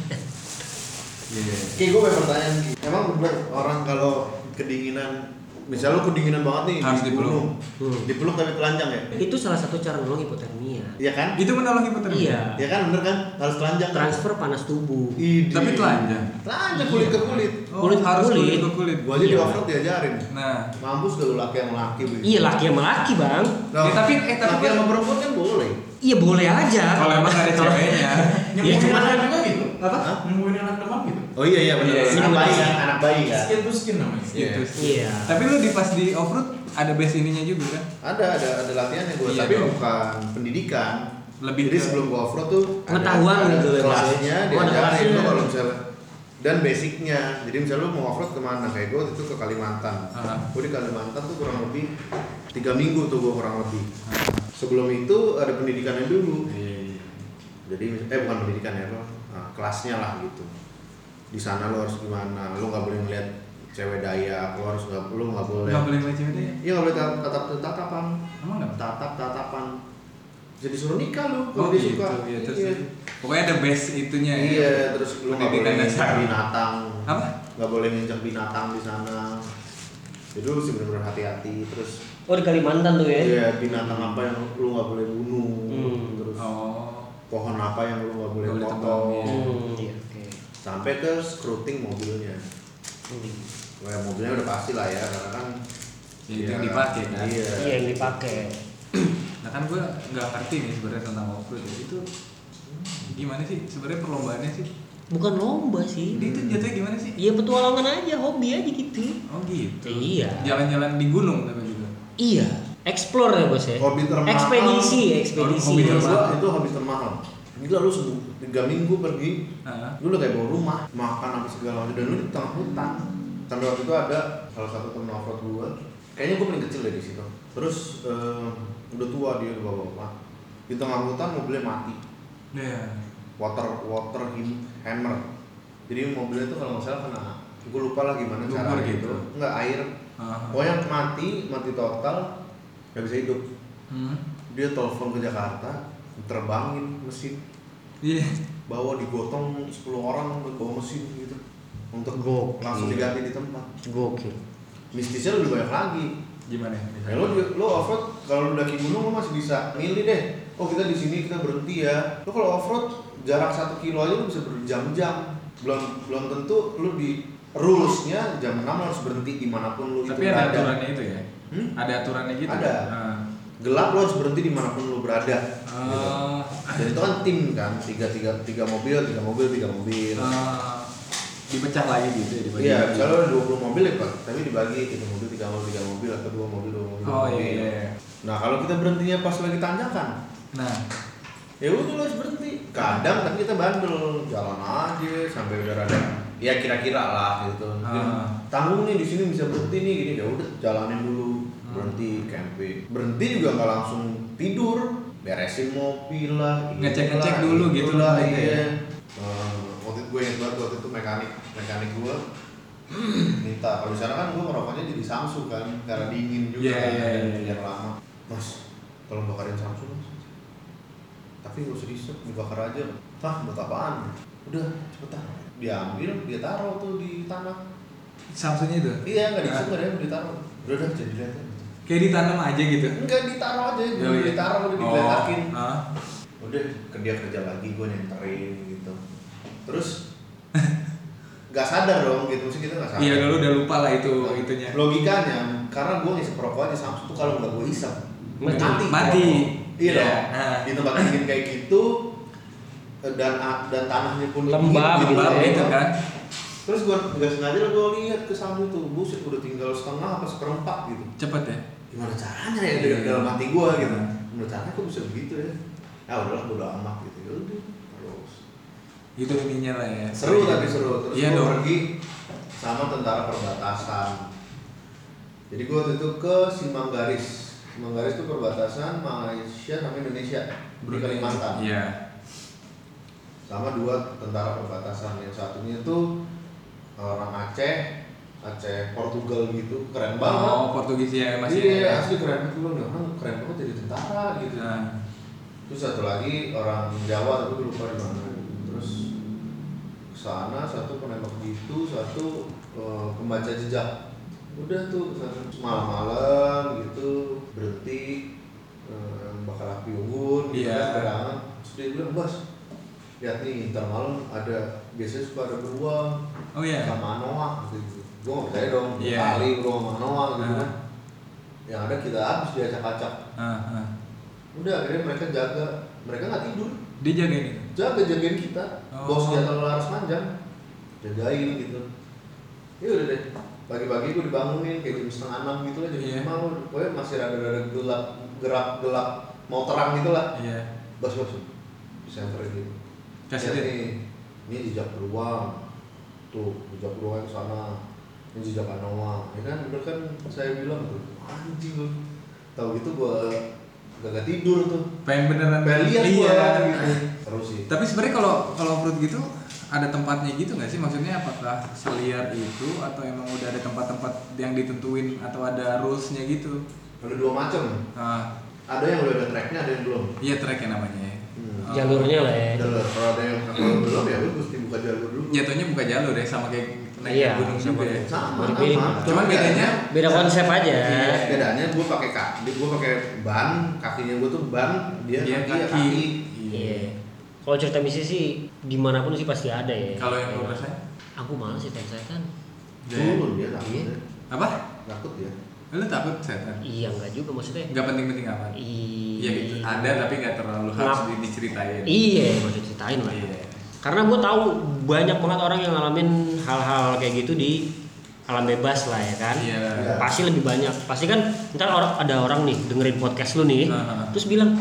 [SPEAKER 3] Iya.
[SPEAKER 2] Oke, gue punya pertanyaan. Ki. Emang bener orang kalau kedinginan, misal lu kedinginan banget nih
[SPEAKER 3] Harus dipeluk.
[SPEAKER 1] Hmm.
[SPEAKER 2] Dipeluk tapi telanjang ya?
[SPEAKER 1] Itu salah satu cara nolong hipotermia.
[SPEAKER 2] Iya kan?
[SPEAKER 3] Itu menolong hipotermia.
[SPEAKER 1] Iya.
[SPEAKER 2] Iya kan bener kan? Harus telanjang. kan?
[SPEAKER 1] Transfer panas tubuh.
[SPEAKER 2] Ide.
[SPEAKER 3] Tapi telanjang.
[SPEAKER 2] Telanjang kulit ke kulit.
[SPEAKER 3] Oh,
[SPEAKER 1] Kulit ke
[SPEAKER 3] harus
[SPEAKER 1] kulit.
[SPEAKER 3] kulit ke kulit.
[SPEAKER 2] Gua aja di
[SPEAKER 1] Iya.
[SPEAKER 2] offroad diajarin.
[SPEAKER 3] Nah,
[SPEAKER 2] Mampus gak lu laki yang laki begitu.
[SPEAKER 1] Iya laki sama laki bang.
[SPEAKER 2] Nah,
[SPEAKER 3] Ya, tapi- eh, tapi
[SPEAKER 2] laki
[SPEAKER 3] gua-
[SPEAKER 2] sama perempuan kan boleh.
[SPEAKER 1] Iya boleh aja.
[SPEAKER 3] kalau emang ada ceweknya.
[SPEAKER 1] Ya,
[SPEAKER 4] Nyembuhin
[SPEAKER 1] cuman
[SPEAKER 4] anak
[SPEAKER 1] kan-
[SPEAKER 4] demam gitu?
[SPEAKER 3] Apa?
[SPEAKER 4] Hah? Nyembuhin anak demam gitu?
[SPEAKER 2] Oh iya iya benar.
[SPEAKER 3] Iya,
[SPEAKER 1] iya.
[SPEAKER 2] anak bayi kan, anak bayi kan.
[SPEAKER 4] Skin to skin namanya.
[SPEAKER 2] Iya.
[SPEAKER 3] Gitu sih.
[SPEAKER 1] Iya.
[SPEAKER 3] Tapi lu di pas di offroad ada base ininya juga kan?
[SPEAKER 2] Ada ada ada latihannya gue,
[SPEAKER 3] Iya,
[SPEAKER 2] tapi
[SPEAKER 3] dong.
[SPEAKER 2] bukan pendidikan.
[SPEAKER 3] Lebih
[SPEAKER 2] Jadi
[SPEAKER 3] ke-
[SPEAKER 2] sebelum gue offroad tuh ada-
[SPEAKER 1] Pengetahuan
[SPEAKER 2] ada
[SPEAKER 1] gitu ya,
[SPEAKER 2] Kelasnya
[SPEAKER 1] Mas? Oh, ada
[SPEAKER 2] diajarin
[SPEAKER 1] kelasnya.
[SPEAKER 2] lu kalau misalnya dan basicnya jadi misalnya lu mau offroad kemana kayak gue itu ke Kalimantan
[SPEAKER 3] Ah.
[SPEAKER 2] gue di Kalimantan tuh kurang lebih tiga minggu tuh gue kurang lebih sebelum itu ada pendidikannya dulu
[SPEAKER 3] Iya.
[SPEAKER 2] jadi mis- eh bukan pendidikan ya apa eh, kelasnya lah gitu di sana lo harus gimana lo nggak boleh ngeliat cewek Dayak lo harus nggak lo nggak boleh
[SPEAKER 1] Iya.
[SPEAKER 3] Enggak boleh ngeliat cewek deh.
[SPEAKER 2] iya nggak boleh tatap tatap tatapan
[SPEAKER 3] Emang nggak?
[SPEAKER 2] tatap tatapan bisa disuruh nikah lu
[SPEAKER 3] Oh
[SPEAKER 2] kalau dia
[SPEAKER 3] gitu,
[SPEAKER 2] suka
[SPEAKER 3] ya, terus
[SPEAKER 2] iya.
[SPEAKER 3] pokoknya the best itunya ya.
[SPEAKER 2] Iya, terus lu nggak boleh
[SPEAKER 3] Pendidikan
[SPEAKER 2] nginjak
[SPEAKER 3] dasar.
[SPEAKER 2] binatang
[SPEAKER 3] Apa?
[SPEAKER 2] nggak boleh nginjak binatang di sana jadi lu sih bener-bener hati-hati terus
[SPEAKER 1] Oh di Kalimantan tuh ya?
[SPEAKER 2] Iya, binatang apa yang lu nggak boleh bunuh,
[SPEAKER 1] Hmm.
[SPEAKER 2] terus
[SPEAKER 3] Oh,
[SPEAKER 2] pohon apa yang lu nggak boleh
[SPEAKER 3] Nggak boleh
[SPEAKER 2] potong,
[SPEAKER 3] tebang, ya.
[SPEAKER 1] Hmm, iya, oke.
[SPEAKER 2] sampai ke scruting mobilnya.
[SPEAKER 1] Hmm.
[SPEAKER 2] Wah, mobilnya udah pasti lah ya, karena kan
[SPEAKER 3] Ya, itu yang dipakai, kan?
[SPEAKER 2] Iya.
[SPEAKER 1] Iya yang dipakai.
[SPEAKER 3] nah kan gue nggak ngerti nih sebenarnya tentang off road ya. itu gimana sih sebenarnya perlombaannya sih?
[SPEAKER 1] Bukan lomba sih.
[SPEAKER 3] Jadi itu jatuhnya gimana sih?
[SPEAKER 1] Iya petualangan aja, hobi aja gitu.
[SPEAKER 3] Oh gitu.
[SPEAKER 1] Iya.
[SPEAKER 3] Jalan-jalan di gunung tapi juga.
[SPEAKER 1] Iya. Explore ya bos ya.
[SPEAKER 2] Hobi termahal.
[SPEAKER 1] Ekspedisi, ekspedisi.
[SPEAKER 3] Hobi
[SPEAKER 2] Menurut
[SPEAKER 3] termahal.
[SPEAKER 2] gua itu habis termahal. Gila lu sembuh tiga minggu pergi,
[SPEAKER 3] Nah,
[SPEAKER 2] lu udah kayak bawa rumah, makan apa segala macam, dan lu di tengah hutan. Sampai waktu itu ada salah satu temen offroad gua, kayaknya gua paling kecil deh di situ. Terus eh, udah tua dia udah bawa bapak di tengah hutan mobilnya mati
[SPEAKER 3] ya.
[SPEAKER 2] water water him- hammer jadi mobilnya itu kalau nggak salah kena gue lupa lah gimana
[SPEAKER 3] Lumpur
[SPEAKER 2] caranya
[SPEAKER 3] gitu.
[SPEAKER 2] nggak air
[SPEAKER 3] Ah.
[SPEAKER 2] pokoknya mati mati total nggak bisa hidup
[SPEAKER 3] Hmm.
[SPEAKER 2] dia telepon ke Jakarta terbangin mesin
[SPEAKER 3] Iya.
[SPEAKER 2] bawa digotong 10 orang buat bawa mesin gitu untuk
[SPEAKER 1] Gokil.
[SPEAKER 2] langsung diganti di tempat
[SPEAKER 1] Gokil.
[SPEAKER 2] mistisnya lebih banyak lagi
[SPEAKER 3] Gimana?
[SPEAKER 2] Ya, lo, lo offroad kalau lo daki gunung lo masih bisa milih deh. Oh kita di sini kita berhenti ya. Lo kalau offroad jarak satu kilo aja lo bisa berjam-jam. Belum belum tentu lo di rulesnya jam 6 lo harus berhenti dimanapun lo itu
[SPEAKER 3] Tapi ada
[SPEAKER 2] berada.
[SPEAKER 3] aturannya itu ya?
[SPEAKER 2] Hmm?
[SPEAKER 3] Ada aturannya gitu?
[SPEAKER 2] Ada.
[SPEAKER 3] Ah.
[SPEAKER 2] Gelap lo harus berhenti dimanapun lo berada. Gitu.
[SPEAKER 3] Ah.
[SPEAKER 2] Dan itu kan tim kan tiga tiga tiga mobil tiga mobil tiga mobil.
[SPEAKER 3] Ah. dipecah lagi gitu ya? dibagi
[SPEAKER 2] Iya,
[SPEAKER 3] lagi.
[SPEAKER 2] misalnya ada 20 mobil ya, Pak. Tapi dibagi tiga mobil, tiga mobil, tiga mobil atau dua mobil, dua mobil. dua
[SPEAKER 3] Oh iya,
[SPEAKER 2] mobil.
[SPEAKER 3] iya, iya.
[SPEAKER 2] Nah, kalau kita berhentinya pas lagi tanjakan,
[SPEAKER 3] Nah,
[SPEAKER 2] ya udah lo harus berhenti kadang kan kita bandel jalan aja sampai udah rada ya kira-kira lah gitu Mungkin,
[SPEAKER 3] Ah.
[SPEAKER 2] tanggung nih di sini bisa berhenti nih gini ya udah jalanin dulu
[SPEAKER 3] Hmm.
[SPEAKER 2] berhenti camping berhenti juga nggak langsung tidur beresin mobil lah ini
[SPEAKER 3] Ngecek-ngecek
[SPEAKER 2] lah,
[SPEAKER 3] dulu
[SPEAKER 2] itu
[SPEAKER 3] gitu
[SPEAKER 2] lah
[SPEAKER 3] lah, gitu ya.
[SPEAKER 2] iya Eh, waktu itu gue ingat banget waktu itu mekanik mekanik gue minta kalau di sana kan gue merokoknya jadi Samsung kan karena dingin juga
[SPEAKER 3] Iya,
[SPEAKER 2] kan,
[SPEAKER 3] iya, iya,
[SPEAKER 2] yang lama mas tolong bakarin Samsung mas tapi nggak usah disep dibakar aja ah buat apaan udah cepetan diambil dia taruh tuh di tanah
[SPEAKER 3] Samsungnya itu?
[SPEAKER 2] iya nggak disep
[SPEAKER 3] Ah.
[SPEAKER 2] nggak ada yang ditaruh udah udah jadi lihat aja.
[SPEAKER 3] Kayak ditanam aja gitu?
[SPEAKER 2] enggak ditaruh aja
[SPEAKER 3] Iya,
[SPEAKER 2] gue
[SPEAKER 3] iya.
[SPEAKER 2] ditaruh udah
[SPEAKER 3] Oh.
[SPEAKER 2] digeletakin
[SPEAKER 3] Ah.
[SPEAKER 2] udah kerja kerja lagi gue nyenterin gitu terus nggak sadar dong gitu maksudnya kita nggak sadar
[SPEAKER 3] Iya, lu udah lupa lah itu
[SPEAKER 2] Nah,
[SPEAKER 3] itunya.
[SPEAKER 2] logikanya karena gue ngisep rokok aja Samsung tuh kalau nggak gue isep
[SPEAKER 1] Mati.
[SPEAKER 2] rokok.
[SPEAKER 3] Mati.
[SPEAKER 2] iya
[SPEAKER 3] Iya.
[SPEAKER 2] dong
[SPEAKER 3] Ah.
[SPEAKER 2] di tempat dingin kayak gitu dan dan tanahnya pun dingin
[SPEAKER 1] Lembab,
[SPEAKER 2] gitu
[SPEAKER 3] Lembab
[SPEAKER 2] ya.
[SPEAKER 3] gitu kan?
[SPEAKER 2] terus gue nggak sengaja lah gue lihat ke Samsung tuh buset udah tinggal setengah apa seperempat gitu
[SPEAKER 3] Cepet ya?
[SPEAKER 2] gimana caranya ya
[SPEAKER 3] Iya.
[SPEAKER 2] dalam hati gue gitu gimana caranya kok bisa begitu ya ya udahlah bodo amat gitu ya udah terus
[SPEAKER 3] Itu ininya lah ya.
[SPEAKER 2] seru tapi seru terus
[SPEAKER 3] Iya
[SPEAKER 2] gue
[SPEAKER 3] dong.
[SPEAKER 2] pergi sama tentara perbatasan jadi gue waktu itu ke Simanggaris Simanggaris itu perbatasan Malaysia sama Indonesia di
[SPEAKER 3] Brunei.
[SPEAKER 2] Kalimantan
[SPEAKER 3] Iya.
[SPEAKER 2] sama dua tentara perbatasan yang satunya itu orang Aceh Aceh Portugal gitu keren banget
[SPEAKER 3] Oh, Portugis ya masih
[SPEAKER 2] iya
[SPEAKER 3] ya.
[SPEAKER 2] asli keren banget lu nih orang keren banget jadi tentara gitu
[SPEAKER 3] Nah.
[SPEAKER 2] terus satu lagi orang Jawa tapi gue lupa di mana terus kesana satu penembak gitu satu eh, pembaca jejak udah tuh kesana malam-malam gitu berhenti eh, bakar api unggun gitu
[SPEAKER 3] Iya.
[SPEAKER 2] kan, pegangan. terus dia bilang bas lihat nih ntar malam ada biasanya suka ada beruang
[SPEAKER 3] Oh iya.
[SPEAKER 2] sama Noah gitu gue nggak percaya dong
[SPEAKER 3] Iya.
[SPEAKER 2] kali beruang sama Noah gitu
[SPEAKER 3] Ah.
[SPEAKER 2] kan yang ada kita habis diacak-acak
[SPEAKER 3] Ah, ah.
[SPEAKER 2] udah akhirnya mereka jaga mereka nggak tidur
[SPEAKER 3] Dia jaga ini.
[SPEAKER 2] jaga jagain kita
[SPEAKER 3] Oh.
[SPEAKER 2] bawa senjata laras panjang jagain gitu ya udah deh pagi-pagi gue dibangunin kayak jam setengah enam gitu lah jam
[SPEAKER 3] Iya.
[SPEAKER 2] lima gue pokoknya masih rada-rada gelap gerak gelap mau terang gitu lah
[SPEAKER 3] Iya.
[SPEAKER 2] bas bas disenterin gitu
[SPEAKER 3] Kasih
[SPEAKER 2] Lihat
[SPEAKER 3] dia.
[SPEAKER 2] nih ini jejak beruang tuh jejak beruang yang sana ini jejak anoa ya kan bener kan saya bilang tuh anjing lu tahu gitu gue gak tidur tuh
[SPEAKER 3] Pengen beneran
[SPEAKER 2] pengen lihat
[SPEAKER 3] iya.
[SPEAKER 2] gua gitu seru sih
[SPEAKER 3] Tapi sebenarnya kalau kalau fruit gitu ada tempatnya gitu nggak sih? Maksudnya apakah seliar itu atau emang udah ada tempat-tempat yang ditentuin atau ada rulesnya gitu?
[SPEAKER 2] ada dua macam
[SPEAKER 3] Nah,
[SPEAKER 2] ada yang udah ada tracknya ada yang belum
[SPEAKER 3] Iya track ya namanya ya.
[SPEAKER 2] Hmm.
[SPEAKER 3] Oh.
[SPEAKER 1] Jalurnya lah ya.
[SPEAKER 2] Jalur. kalau ada yang
[SPEAKER 1] Hmm.
[SPEAKER 2] kalau belum ya lu mesti buka jalur dulu
[SPEAKER 3] Jatuhnya buka jalur ya sama kayak naik
[SPEAKER 1] Iya,
[SPEAKER 3] gunung
[SPEAKER 1] sama
[SPEAKER 3] juga ya.
[SPEAKER 1] kayak-
[SPEAKER 2] sama
[SPEAKER 1] Dipilih.
[SPEAKER 2] sama
[SPEAKER 3] Cuman bedanya
[SPEAKER 1] Beda konsep ya. aja.
[SPEAKER 3] Iya.
[SPEAKER 2] bedanya gue pakai kaki gue pakai ban kakinya gue tuh ban dia,
[SPEAKER 3] dia
[SPEAKER 2] iya, kaki,
[SPEAKER 3] kaki.
[SPEAKER 2] kaki.
[SPEAKER 3] Iya.
[SPEAKER 1] Iya. Kalau cerita misi sih dimanapun sih pasti ada ya.
[SPEAKER 3] Kalau yang lu rasain?
[SPEAKER 1] Aku malas sih saya kan.
[SPEAKER 2] turun dia takut
[SPEAKER 1] Iya.
[SPEAKER 2] ya.
[SPEAKER 3] Apa?
[SPEAKER 2] takut ya
[SPEAKER 3] Lu takut setan?
[SPEAKER 1] Iya enggak juga maksudnya.
[SPEAKER 3] Gak penting-penting apa?
[SPEAKER 1] Iya.
[SPEAKER 3] Iya gitu. Ada tapi gak terlalu harus
[SPEAKER 1] Ngap-
[SPEAKER 3] di- diceritain.
[SPEAKER 1] Iya, mau diceritain lah.
[SPEAKER 3] Iya.
[SPEAKER 1] Karena gue tahu banyak banget orang yang ngalamin hal-hal kayak gitu di alam bebas lah ya kan.
[SPEAKER 3] Iya.
[SPEAKER 1] Pasti lebih banyak. Pasti kan ntar orang ada orang nih dengerin podcast lu nih,
[SPEAKER 3] Nah.
[SPEAKER 1] terus bilang,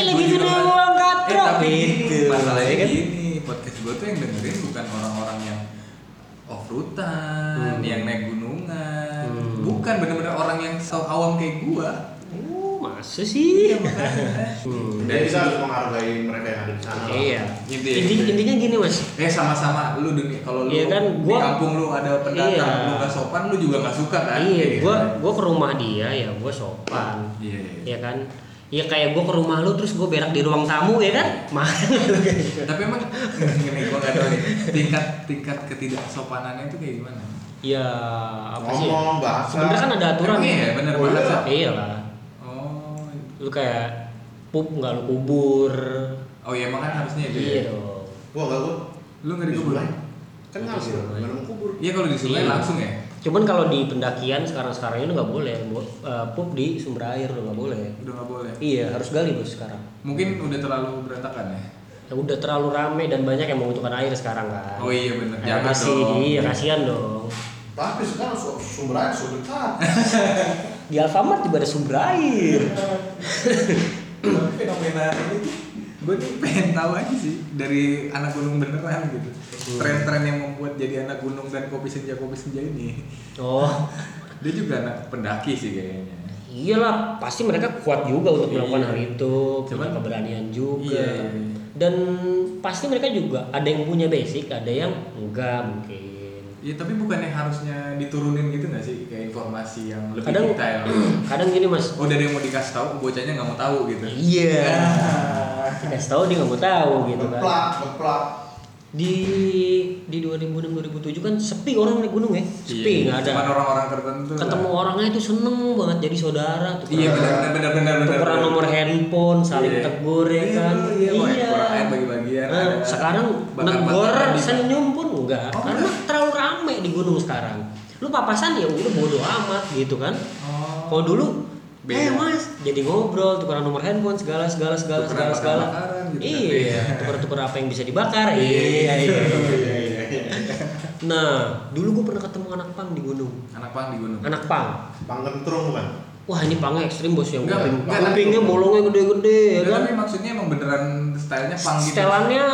[SPEAKER 1] "Iya
[SPEAKER 3] gua
[SPEAKER 1] lagi gitu
[SPEAKER 3] juga kan.
[SPEAKER 1] doang
[SPEAKER 3] Eh
[SPEAKER 1] katrok."
[SPEAKER 3] tapi
[SPEAKER 1] gitu.
[SPEAKER 3] masalahnya
[SPEAKER 1] Ya kan?
[SPEAKER 3] gini, podcast gue tuh yang dengerin bukan orang-orang yang off rutan,
[SPEAKER 1] Hmm.
[SPEAKER 3] yang naik gunungan,
[SPEAKER 1] Hmm.
[SPEAKER 3] bukan bener-bener orang yang so awam kayak gua. Iya,
[SPEAKER 1] Oh, masa sih?
[SPEAKER 3] makanya.
[SPEAKER 1] Hmm.
[SPEAKER 2] dan kita harus menghargai mereka yang ada di sana lah.
[SPEAKER 1] Iya.
[SPEAKER 3] Intinya-
[SPEAKER 1] Inti- intinya gini mas,
[SPEAKER 3] Eh sama-sama lu dunia kalau lu
[SPEAKER 1] Iya kan,
[SPEAKER 3] di
[SPEAKER 1] gua-
[SPEAKER 3] kampung lu ada pendatang,
[SPEAKER 1] Iya.
[SPEAKER 3] lu gak sopan lu juga gak suka kan? Kayak
[SPEAKER 1] iya,
[SPEAKER 3] gitu.
[SPEAKER 1] gue gue ke rumah dia ya gue sopan,
[SPEAKER 3] Iya. iya.
[SPEAKER 1] ya kan? Iya kayak gue ke rumah lu terus gue berak di ruang tamu ya kan?
[SPEAKER 3] Iya.
[SPEAKER 1] Mahal Iya.
[SPEAKER 3] Tapi emang gini gua gak tahu nih tingkat tingkat ketidaksopanannya itu kayak gimana?
[SPEAKER 1] Ya apa sih? ya?
[SPEAKER 2] ngomong bahasa
[SPEAKER 1] Sebenarnya kan ada aturan.
[SPEAKER 3] Emang iya, bener
[SPEAKER 2] Oh, iya.
[SPEAKER 3] bahasa.
[SPEAKER 1] Iya lah.
[SPEAKER 3] Oh.
[SPEAKER 1] Lu kayak pup nggak lu kubur.
[SPEAKER 3] Oh iya emang kan harusnya itu. ya?
[SPEAKER 1] Iya dong.
[SPEAKER 2] gua enggak gua
[SPEAKER 3] Lu gak dikubur?
[SPEAKER 2] Disulai. kan ngambil
[SPEAKER 1] Disulai.
[SPEAKER 2] nggak mau kubur
[SPEAKER 3] Iya kalau disulai
[SPEAKER 1] Iya.
[SPEAKER 3] langsung ya.
[SPEAKER 1] Cuman kalau di pendakian sekarang-sekarang ini nggak boleh Bo- eh, pup di sumber air udah nggak boleh.
[SPEAKER 3] Udah nggak boleh.
[SPEAKER 1] Iya harus gali bos sekarang.
[SPEAKER 3] Mungkin udah terlalu berantakan ya.
[SPEAKER 1] Ya udah terlalu rame dan banyak yang membutuhkan air sekarang kan.
[SPEAKER 3] Oh iya bener.
[SPEAKER 1] Ya,
[SPEAKER 3] Jangan
[SPEAKER 1] kasih,
[SPEAKER 3] dong.
[SPEAKER 1] iya kasihan dong.
[SPEAKER 2] tapi sekarang su- sumber air sudah dekat
[SPEAKER 1] Iya, Di Alfamart juga ada sumber air.
[SPEAKER 3] Iya. Tapi fenomena ini gue nih pengen tahu aja sih dari anak gunung beneran gitu.
[SPEAKER 1] Iya.
[SPEAKER 3] Tren-tren yang membuat jadi anak gunung dan kopi senja kopi senja ini.
[SPEAKER 1] Oh,
[SPEAKER 3] Dia juga anak pendaki sih kayaknya.
[SPEAKER 1] iyalah pasti mereka kuat juga untuk
[SPEAKER 3] Iya.
[SPEAKER 1] melakukan hal itu, punya
[SPEAKER 3] Cuman-
[SPEAKER 1] keberanian juga.
[SPEAKER 3] Iya.
[SPEAKER 1] Dan pasti mereka juga ada yang punya basic, ada yang enggak mungkin.
[SPEAKER 3] Iya tapi bukannya harusnya diturunin gitu nggak sih kayak informasi yang lebih
[SPEAKER 1] Kadang
[SPEAKER 3] detail.
[SPEAKER 1] kadang gini Mas.
[SPEAKER 3] Oh dari yang mau dikasih tahu bocahnya nggak mau tahu gitu.
[SPEAKER 1] Iya. Dikasih tahu dia nggak mau tahu gitu kan.
[SPEAKER 2] beplak beplak
[SPEAKER 1] Di di 2006 2007 kan sepi orang naik gunung ya.
[SPEAKER 3] Iya,
[SPEAKER 1] Sepi nggak ada.
[SPEAKER 3] Cuman orang-orang tertentu. lah.
[SPEAKER 1] ketemu orangnya itu seneng banget jadi saudara tuh
[SPEAKER 3] Iya benar benar benar benar benar.
[SPEAKER 1] tukeran nomor handphone saling
[SPEAKER 3] Iya.
[SPEAKER 1] tegur ya
[SPEAKER 3] Iya,
[SPEAKER 1] kan
[SPEAKER 3] iya, mau kurang air bagi-bagian,
[SPEAKER 1] Nah,
[SPEAKER 3] ada
[SPEAKER 1] sekarang
[SPEAKER 3] bakar-bakaran
[SPEAKER 1] negor
[SPEAKER 3] di-
[SPEAKER 1] senyum pun enggak
[SPEAKER 3] Oh,
[SPEAKER 1] karena terlalu rame di gunung sekarang lu papasan ya udah bodo amat gitu kan
[SPEAKER 3] Oh.
[SPEAKER 1] kalau dulu
[SPEAKER 3] Beda.
[SPEAKER 1] eh mas jadi ngobrol tukeran nomor handphone segala segala segala segala
[SPEAKER 3] Tukeran
[SPEAKER 1] segala
[SPEAKER 3] bakar-bakaran gitu kan, beda.
[SPEAKER 1] iya tukeran tukeran apa yang bisa dibakar iya iya nah dulu gue pernah ketemu anak pang di gunung
[SPEAKER 3] Anak pang di gunung.
[SPEAKER 1] anak pang
[SPEAKER 2] panggentrung kan
[SPEAKER 1] Wah ini pangnya ekstrim bos yang
[SPEAKER 3] Enggak,
[SPEAKER 1] kuping
[SPEAKER 3] enggak,
[SPEAKER 1] kupingnya
[SPEAKER 3] tapi-
[SPEAKER 1] bolongnya gede-gede ya
[SPEAKER 3] Enggak,
[SPEAKER 1] kan.
[SPEAKER 3] Iya, tapi maksudnya emang beneran stylenya pang gitu.
[SPEAKER 1] Setelannya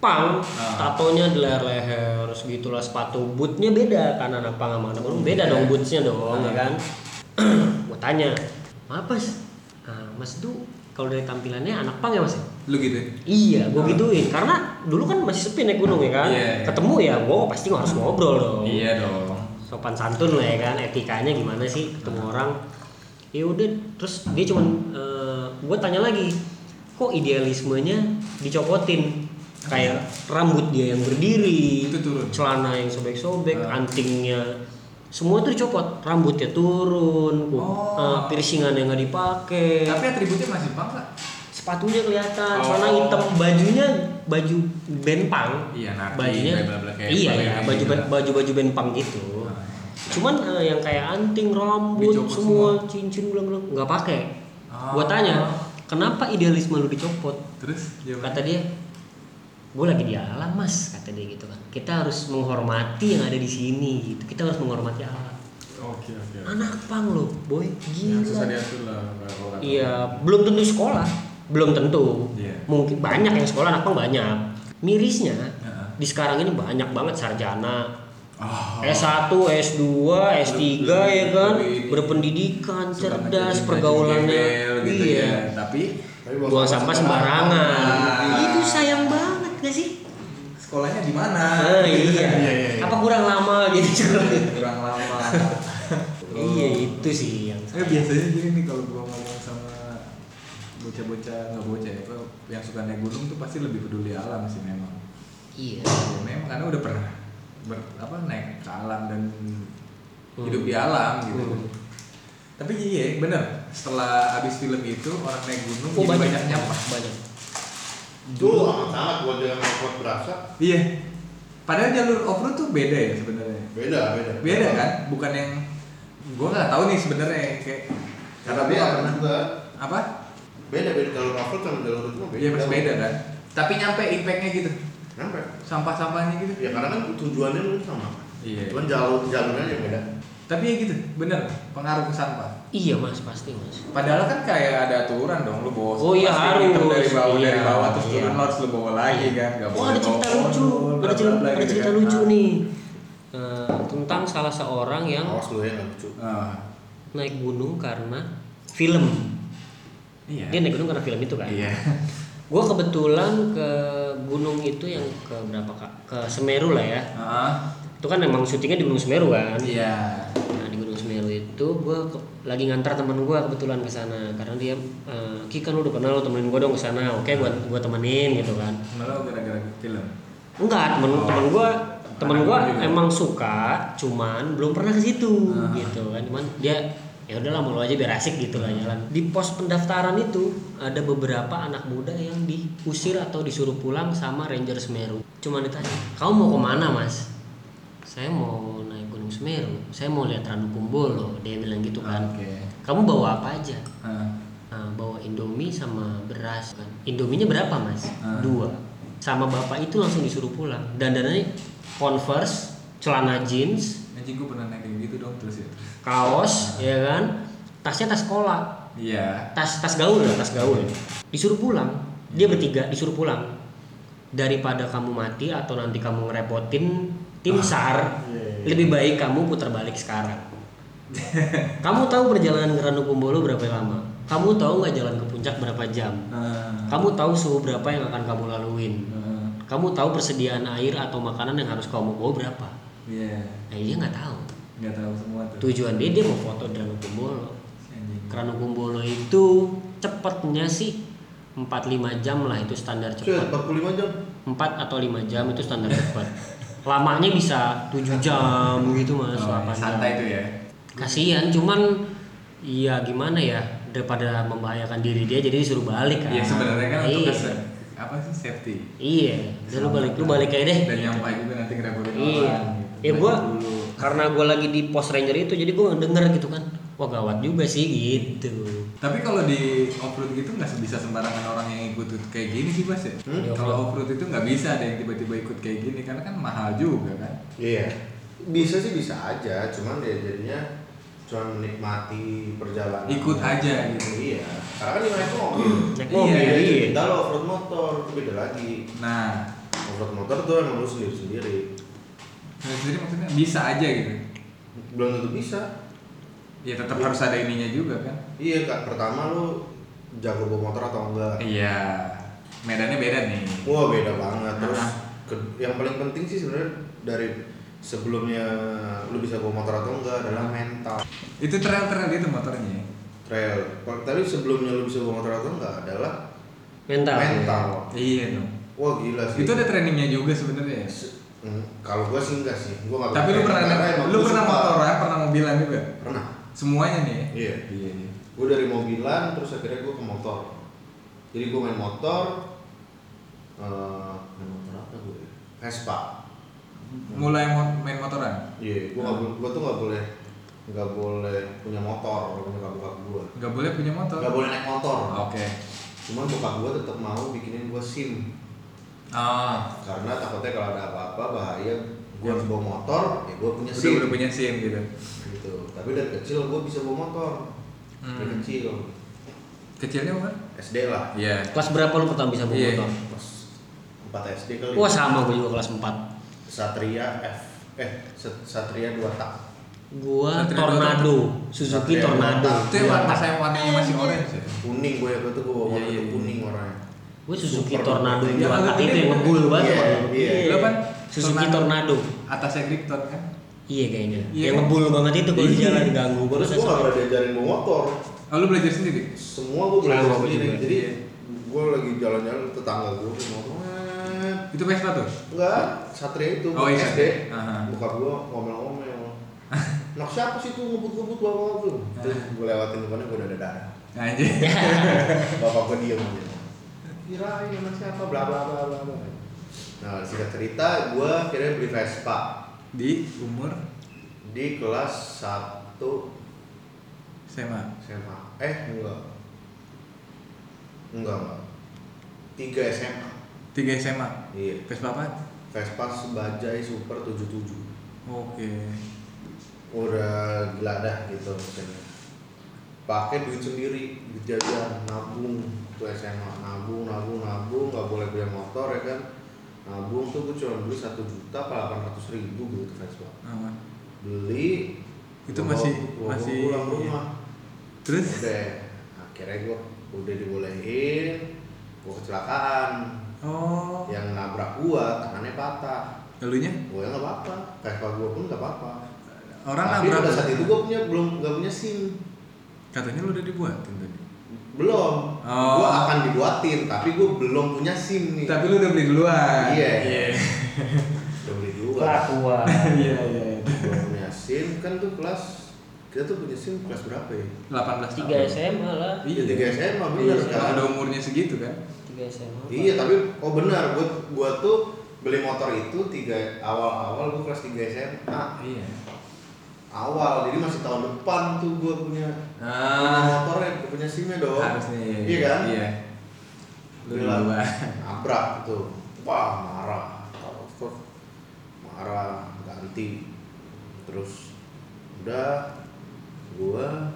[SPEAKER 1] pang,
[SPEAKER 3] Ah.
[SPEAKER 1] tatonya di leher leher segitulah sepatu bootnya beda kan anak pang sama anak burung beda
[SPEAKER 3] Iya.
[SPEAKER 1] dong bootsnya dong
[SPEAKER 3] Ah.
[SPEAKER 1] ya kan. Gua tanya, apa mas? Ah, mas tuh kalau dari tampilannya anak pang ya mas? ya?"
[SPEAKER 3] Lu gitu. ya?
[SPEAKER 1] Iya, gue
[SPEAKER 3] Ah.
[SPEAKER 1] gituin karena dulu kan masih sepi naik gunung ya kan.
[SPEAKER 3] Iya, iya.
[SPEAKER 1] Ketemu ya, gue pasti harus ngobrol dong.
[SPEAKER 3] Iya dong.
[SPEAKER 1] sopan santun lah ya kan etikanya gimana sih ketemu
[SPEAKER 3] Hmm.
[SPEAKER 1] orang ya udah terus dia cuman gue tanya lagi kok idealismenya dicopotin kayak rambut dia yang berdiri
[SPEAKER 3] Itu turun.
[SPEAKER 1] celana yang sobek-sobek
[SPEAKER 3] Ah.
[SPEAKER 1] antingnya semua tuh dicopot rambutnya turun ku-
[SPEAKER 3] Oh.
[SPEAKER 1] eh, piercingan yang nggak dipakai
[SPEAKER 3] Tapi atributnya masih pang nggak?
[SPEAKER 1] sepatunya kelihatan
[SPEAKER 3] Oh.
[SPEAKER 1] celana hitam bajunya baju benpang
[SPEAKER 3] Iya, naki,
[SPEAKER 1] bajunya
[SPEAKER 3] bla-bla-bla kayak
[SPEAKER 1] iya
[SPEAKER 3] bla-bla
[SPEAKER 1] ya
[SPEAKER 3] kayak
[SPEAKER 1] baju
[SPEAKER 3] gitu lah.
[SPEAKER 1] baju baju benpang gitu
[SPEAKER 3] Ah.
[SPEAKER 1] cuman eh, yang kayak anting rambut
[SPEAKER 3] Dicopot
[SPEAKER 1] semua, cincin belang-belang nggak pakai
[SPEAKER 3] Ah.
[SPEAKER 1] gua tanya kenapa idealisme lu dicopot
[SPEAKER 3] Terus iya,
[SPEAKER 1] kata dia gue lagi di alam mas kata dia gitu kan kita harus menghormati yang ada di sini gitu kita harus menghormati alam
[SPEAKER 3] Oke oke.
[SPEAKER 1] anak pang lo boy gila
[SPEAKER 3] diatur lah
[SPEAKER 1] kan.
[SPEAKER 3] orang.
[SPEAKER 1] Iya, belum tentu sekolah, belum tentu.
[SPEAKER 3] Iya.
[SPEAKER 1] Mungkin banyak yang sekolah anak pang banyak. Mirisnya
[SPEAKER 3] Heeh.
[SPEAKER 1] di sekarang ini banyak banget sarjana.
[SPEAKER 3] Oh.
[SPEAKER 1] S1, S2, S3 ya kan,
[SPEAKER 3] lebih ini.
[SPEAKER 1] berpendidikan,
[SPEAKER 3] Suka
[SPEAKER 1] cerdas,
[SPEAKER 3] ngajakin
[SPEAKER 1] pergaulannya.
[SPEAKER 3] baju gembel gitu
[SPEAKER 1] iya.
[SPEAKER 3] ya. Tapi
[SPEAKER 2] Tapi buang
[SPEAKER 1] Buang sampah sembarangan.
[SPEAKER 3] Ah.
[SPEAKER 1] Itu sayang banget gak sih?
[SPEAKER 3] sekolahnya di mana?
[SPEAKER 1] Ah, iya.
[SPEAKER 3] iya, iya. Oh.
[SPEAKER 1] Apa kurang lama gitu.
[SPEAKER 3] kurang lama.
[SPEAKER 1] Iya, itu sih yang
[SPEAKER 3] Eh biasanya gini nih kalau gua ngomong sama bocah-bocah nggak bocah ya, apa, yang suka naik gunung tuh pasti lebih peduli alam sih memang.
[SPEAKER 1] Iya.
[SPEAKER 3] Ya, memang karena udah pernah ber- apa naik ke alam dan hidup di alam gitu.
[SPEAKER 1] Hmm.
[SPEAKER 3] Tapi iya bener setelah abis film itu orang naik gunung
[SPEAKER 1] Oh,
[SPEAKER 3] jadi
[SPEAKER 1] banyak.
[SPEAKER 3] banyak nyampah.
[SPEAKER 1] Banyak.
[SPEAKER 2] Itu amat sangat buat yang kuat berasa.
[SPEAKER 3] Iya. Padahal jalur off road tuh beda ya sebenarnya.
[SPEAKER 2] Beda, beda.
[SPEAKER 3] Beda kan? Bukan yang gua nggak tahu nih sebenarnya kayak
[SPEAKER 2] Karena
[SPEAKER 3] karena
[SPEAKER 2] dia
[SPEAKER 3] gua nggak
[SPEAKER 2] ada
[SPEAKER 3] pernah
[SPEAKER 2] juga.
[SPEAKER 3] apa?
[SPEAKER 2] Beda beda jalur cover sama jalur itu mah beda.
[SPEAKER 3] Iya pasti beda kan. Tapi nyampe impactnya gitu,
[SPEAKER 2] Kenapa?
[SPEAKER 3] sampah-sampahnya gitu.
[SPEAKER 2] Ya karena kan tujuannya lu sama.
[SPEAKER 3] Iya.
[SPEAKER 2] Cuman jalur jalurnya aja beda.
[SPEAKER 3] Tapi ya gitu, bener pengaruh ke sampah.
[SPEAKER 1] Iya mas pasti mas.
[SPEAKER 3] Padahal kan kayak ada aturan dong, lu bawa
[SPEAKER 1] Oh iya,
[SPEAKER 3] plastik
[SPEAKER 1] harus.
[SPEAKER 3] hitam dari bawah dari
[SPEAKER 1] Iya,
[SPEAKER 3] bawah terus
[SPEAKER 1] iya.
[SPEAKER 3] turun lo harus lu bawa lagi kan, nggak
[SPEAKER 1] Oh ada cerita lucu, ada cerita, ada
[SPEAKER 3] gitu ya.
[SPEAKER 1] cerita lucu nih Eh, tentang salah seorang yang
[SPEAKER 3] Oh.
[SPEAKER 2] Awas lu ya nggak lucu.
[SPEAKER 3] kan.
[SPEAKER 1] naik gunung karena film.
[SPEAKER 3] iya.
[SPEAKER 1] Dia naik gunung karena film itu kan.
[SPEAKER 3] Iya.
[SPEAKER 1] Gue kebetulan ke gunung itu yang ke berapa kak? Ke Semeru lah ya.
[SPEAKER 3] Ah,
[SPEAKER 1] Itu kan emang syutingnya di Gunung Semeru kan.
[SPEAKER 3] Iya.
[SPEAKER 1] Nah di Gunung Semeru itu gue lagi ngantar temen gue kebetulan ke sana karena dia eh, Ki kan lu udah kenal lu temenin gue dong ke sana.
[SPEAKER 3] Iya.
[SPEAKER 1] Oke gue gua temenin gitu kan.
[SPEAKER 3] Malah gara-gara film.
[SPEAKER 1] Enggak, temen
[SPEAKER 3] Oh.
[SPEAKER 1] temen gua temen
[SPEAKER 3] Anak
[SPEAKER 1] gua
[SPEAKER 3] gua juga.
[SPEAKER 1] emang suka, cuman belum pernah ke situ
[SPEAKER 3] Ah.
[SPEAKER 1] gitu kan. Cuman dia ya udahlah mau aja biar asik gitu lah jalan. Di pos pendaftaran itu ada beberapa anak muda yang diusir atau disuruh pulang sama Ranger Semeru. Cuman ditanya, "Kamu mau kemana, Mas?" Saya mau naik Gunung Semeru. Saya mau lihat Ranu Kumbolo. Dia bilang gitu kan.
[SPEAKER 3] Ah, Oke.
[SPEAKER 1] Kamu bawa apa aja?
[SPEAKER 3] Ah,
[SPEAKER 1] Nah, bawa indomie sama beras kan indominya berapa mas
[SPEAKER 3] Ah.
[SPEAKER 1] dua sama bapak itu langsung disuruh pulang dan dananya converse celana jeans
[SPEAKER 3] Anjing gue pernah naik kayak gitu dong terus ya.
[SPEAKER 1] kaos ya kan tasnya tas sekolah
[SPEAKER 3] Iya.
[SPEAKER 1] tas tas gaul lah tas gaul disuruh pulang dia bertiga disuruh pulang daripada kamu mati atau nanti kamu ngerepotin tim sar lebih baik kamu putar balik sekarang kamu tahu perjalanan ke Ranu Kumbolo berapa lama kamu tahu nggak jalan ke puncak berapa jam
[SPEAKER 3] Ah,
[SPEAKER 1] Kamu tahu suhu berapa yang akan kamu laluin?
[SPEAKER 3] ah,
[SPEAKER 1] Kamu tahu persediaan air atau makanan yang harus kamu bawa berapa?
[SPEAKER 3] Iya.
[SPEAKER 1] Nah, dia nggak tahu.
[SPEAKER 3] Nggak tahu semua tuh.
[SPEAKER 1] Tujuan dia dia mau foto di Ranu Kumbolo.
[SPEAKER 3] Si Anjing.
[SPEAKER 1] Ranu Kumbolo itu cepatnya sih 4-5 jam lah itu standar
[SPEAKER 2] Cuy,
[SPEAKER 1] cepat.
[SPEAKER 2] 45 jam.
[SPEAKER 1] 4 atau 5 jam itu standar cepat. Lamanya bisa 7 jam gitu Mas,
[SPEAKER 3] Oh,
[SPEAKER 1] 8 jam.
[SPEAKER 3] santai tuh ya.
[SPEAKER 1] Kasihan cuman ya gimana ya daripada membahayakan diri dia jadi disuruh balik kan.
[SPEAKER 3] Iya sebenarnya kan untuk
[SPEAKER 1] Iya.
[SPEAKER 3] kese- apa sih safety.
[SPEAKER 1] Iya, udah lu balik, lu balik aja deh.
[SPEAKER 3] Dan nyampai juga nanti ngerepotin
[SPEAKER 1] Iya.
[SPEAKER 3] orang. gitu.
[SPEAKER 1] Ya
[SPEAKER 3] Balik
[SPEAKER 1] gua
[SPEAKER 3] dulu.
[SPEAKER 1] karena gua lagi di pos ranger itu jadi gua denger gitu kan. Wah gawat juga sih gitu.
[SPEAKER 3] Tapi kalau di offroad gitu nggak bisa sembarangan orang yang ikut kayak gini sih bas ya.
[SPEAKER 1] Di off-road.
[SPEAKER 3] Kalau offroad itu nggak bisa ada yang tiba-tiba ikut kayak gini karena kan mahal juga kan.
[SPEAKER 2] Iya. Bisa sih bisa aja, cuman ya jadinya cuman menikmati perjalanan.
[SPEAKER 3] Ikut aja gitu.
[SPEAKER 2] Iya. Karena kan dia naik mobil.
[SPEAKER 1] Naik
[SPEAKER 3] Iya,
[SPEAKER 1] mobil.
[SPEAKER 2] Jadi
[SPEAKER 1] iya.
[SPEAKER 2] kita lo off-road motor, itu beda lagi.
[SPEAKER 3] Nah,
[SPEAKER 2] Off-road motor tuh emang lu sendiri-sendiri.
[SPEAKER 3] jadi maksudnya bisa aja gitu.
[SPEAKER 2] Belum tentu bisa.
[SPEAKER 3] Ya tetap harus ada ininya juga kan.
[SPEAKER 2] Iya kak, pertama lu jago bawa motor atau enggak?
[SPEAKER 3] Iya. Medannya beda nih.
[SPEAKER 2] Wah beda banget. Terus
[SPEAKER 3] Aha.
[SPEAKER 2] ke- yang paling penting sih sebenarnya dari sebelumnya lu bisa bawa motor atau enggak adalah mental
[SPEAKER 3] Itu trail-trail itu motornya. ya?
[SPEAKER 2] trail. Kalau- Tapi sebelumnya lu bisa bawa motor atau enggak adalah
[SPEAKER 1] Mental.
[SPEAKER 2] mental.
[SPEAKER 3] Iya dong.
[SPEAKER 2] Wah gila sih.
[SPEAKER 3] Itu ada trainingnya juga sebenarnya. ya?
[SPEAKER 2] Se- hmm, Kalau gua sih enggak sih, gua enggak.
[SPEAKER 3] Tapi lu pernah
[SPEAKER 2] Karena emang
[SPEAKER 3] lu
[SPEAKER 2] gua
[SPEAKER 3] pernah
[SPEAKER 2] suka.
[SPEAKER 3] motoran, pernah mobilan juga?
[SPEAKER 2] Pernah.
[SPEAKER 3] Semuanya nih. ya?
[SPEAKER 2] Iya.
[SPEAKER 3] Iya. iya.
[SPEAKER 2] Gua dari mobilan terus akhirnya gua ke motor. Jadi gua main motor. eh, main motor apa gue? Vespa.
[SPEAKER 3] Mulai mo- main motoran?
[SPEAKER 2] Iya, gua nggak boleh, gua tuh nggak boleh nggak boleh punya motor kalau punya bokap gua.
[SPEAKER 3] Gak boleh punya motor.
[SPEAKER 2] Nggak boleh naik motor.
[SPEAKER 3] Oke.
[SPEAKER 2] Cuman bokap gua tetap mau bikinin gua SIM
[SPEAKER 3] Ah,
[SPEAKER 2] karena takutnya kalau ada apa-apa bahaya gua harus bawa motor, ya gua punya
[SPEAKER 3] udah,
[SPEAKER 2] SIM.
[SPEAKER 3] udah punya SIM gitu.
[SPEAKER 2] Gitu. Tapi dari kecil gua bisa bawa motor. Dari
[SPEAKER 3] Hmm.
[SPEAKER 2] kecil
[SPEAKER 3] Kecilnya apa?
[SPEAKER 2] SD lah.
[SPEAKER 3] Iya.
[SPEAKER 1] Kelas berapa lu pertama bisa bawa
[SPEAKER 3] Iya.
[SPEAKER 1] motor?
[SPEAKER 2] Pas 4 SD kali.
[SPEAKER 1] Wah sama gua juga kelas 4
[SPEAKER 2] Satria F eh Sat- Satria 2 tak.
[SPEAKER 1] Gua
[SPEAKER 3] Satria
[SPEAKER 1] Tornado, Suzuki
[SPEAKER 2] Satria
[SPEAKER 1] Tornado.
[SPEAKER 2] Dua tak.
[SPEAKER 3] Iya. Itu yang warna saya warnanya masih orange ya.
[SPEAKER 2] Kuning gue ya, gua tuh gua bawa
[SPEAKER 3] Iya,
[SPEAKER 2] motor
[SPEAKER 3] iya,
[SPEAKER 2] tuh
[SPEAKER 3] iya.
[SPEAKER 2] kuning warnanya.
[SPEAKER 1] Gue Suzuki
[SPEAKER 2] Super. Iya,
[SPEAKER 1] Tornado
[SPEAKER 2] Yang
[SPEAKER 1] dua
[SPEAKER 3] agak
[SPEAKER 1] tak
[SPEAKER 3] gede
[SPEAKER 1] itu yang
[SPEAKER 3] bukan?
[SPEAKER 1] ngebul banget.
[SPEAKER 2] Iya,
[SPEAKER 1] Bang.
[SPEAKER 2] iya.
[SPEAKER 1] Iya.
[SPEAKER 3] Lu apa?
[SPEAKER 1] Suzuki
[SPEAKER 3] Tornado.
[SPEAKER 1] Tornado.
[SPEAKER 3] Atasnya Krypton kan?
[SPEAKER 1] Iya kayaknya.
[SPEAKER 3] Iya.
[SPEAKER 1] Yang ngebul banget itu kalau di
[SPEAKER 3] Iya.
[SPEAKER 1] jalan ganggu
[SPEAKER 2] Terus
[SPEAKER 1] banget.
[SPEAKER 2] gue gak pernah diajarin bawa motor
[SPEAKER 3] Oh, lu belajar sendiri?
[SPEAKER 2] semua gue belajar
[SPEAKER 1] Sama, gua
[SPEAKER 2] sendiri
[SPEAKER 3] iya.
[SPEAKER 1] juga.
[SPEAKER 2] jadi gue lagi jalan-jalan tetangga gue ngomong "Eh,
[SPEAKER 3] Itu Vespa tuh?
[SPEAKER 2] enggak satria itu
[SPEAKER 3] Oh, iya,
[SPEAKER 2] SD
[SPEAKER 3] Satria. Aha.
[SPEAKER 2] buka gue ngomel-ngomel Nok siapa sih tuh ngebut-ngebut bawa mobil? Terus gue lewatin depannya gue udah ada darah.
[SPEAKER 3] Anjir.
[SPEAKER 2] Iya. Bapak gue diem aja. Kirain anak siapa? Bla bla bla bla bla. Nah singkat cerita gue akhirnya beli Vespa
[SPEAKER 3] Di umur
[SPEAKER 2] di kelas 1
[SPEAKER 3] SMA.
[SPEAKER 2] SMA. Eh enggak. Enggak enggak. 3 SMA.
[SPEAKER 3] 3 SMA.
[SPEAKER 2] Iya.
[SPEAKER 3] Vespa apa?
[SPEAKER 2] Vespa Sebajai Super 77
[SPEAKER 3] Oke.
[SPEAKER 2] udah gila dah gitu maksudnya pakai duit sendiri duit jajan nabung tuh SMA nabung nabung nabung nggak boleh beli motor ya kan nabung tuh gue cuma beli satu juta delapan ratus ribu gitu Vespa
[SPEAKER 3] Apa?
[SPEAKER 2] beli
[SPEAKER 3] Itu
[SPEAKER 2] gua bawa-
[SPEAKER 3] masih-
[SPEAKER 2] gua bawa
[SPEAKER 3] masih-
[SPEAKER 2] pulang rumah
[SPEAKER 3] Terus?
[SPEAKER 2] udah akhirnya gue udah dibolehin gue kecelakaan
[SPEAKER 3] Oh.
[SPEAKER 2] yang nabrak gua tangannya patah
[SPEAKER 3] Lalunya?
[SPEAKER 2] gue nggak apa-apa Vespa gue pun nggak apa-apa
[SPEAKER 3] Orang
[SPEAKER 2] tapi
[SPEAKER 3] nabrak.
[SPEAKER 2] pada saat itu gue punya belum nggak punya sim
[SPEAKER 3] Katanya lu udah dibuatin tadi.
[SPEAKER 2] belum
[SPEAKER 3] Oh.
[SPEAKER 2] gue akan dibuatin tapi gue belum punya sim nih
[SPEAKER 3] Tapi lu udah beli duluan.
[SPEAKER 2] Iya.
[SPEAKER 3] Iya.
[SPEAKER 2] udah beli dua
[SPEAKER 1] Kelakuan.
[SPEAKER 3] Iya, iya, iya.
[SPEAKER 2] belum punya sim kan tuh kelas kita tuh punya sim kelas berapa ya
[SPEAKER 3] 18
[SPEAKER 1] Tiga
[SPEAKER 3] tahun.
[SPEAKER 1] SMA lah.
[SPEAKER 3] Iya.
[SPEAKER 2] tiga SMA
[SPEAKER 3] Iya,
[SPEAKER 2] bener kan
[SPEAKER 3] ada umurnya segitu kan?
[SPEAKER 1] Tiga SMA.
[SPEAKER 2] iya tapi oh benar gue gue tuh beli motor itu tiga awal awal gue kelas tiga SMA
[SPEAKER 3] Iya.
[SPEAKER 2] awal jadi masih tahun depan tuh gue punya
[SPEAKER 3] Ah,
[SPEAKER 2] motornya gue punya simnya dong
[SPEAKER 3] harusnya iya.
[SPEAKER 2] iya kan Iya.
[SPEAKER 3] Iya. Lu
[SPEAKER 2] Gila.
[SPEAKER 3] duluan.
[SPEAKER 2] nabrak gitu wah marah terus marah ganti terus udah gua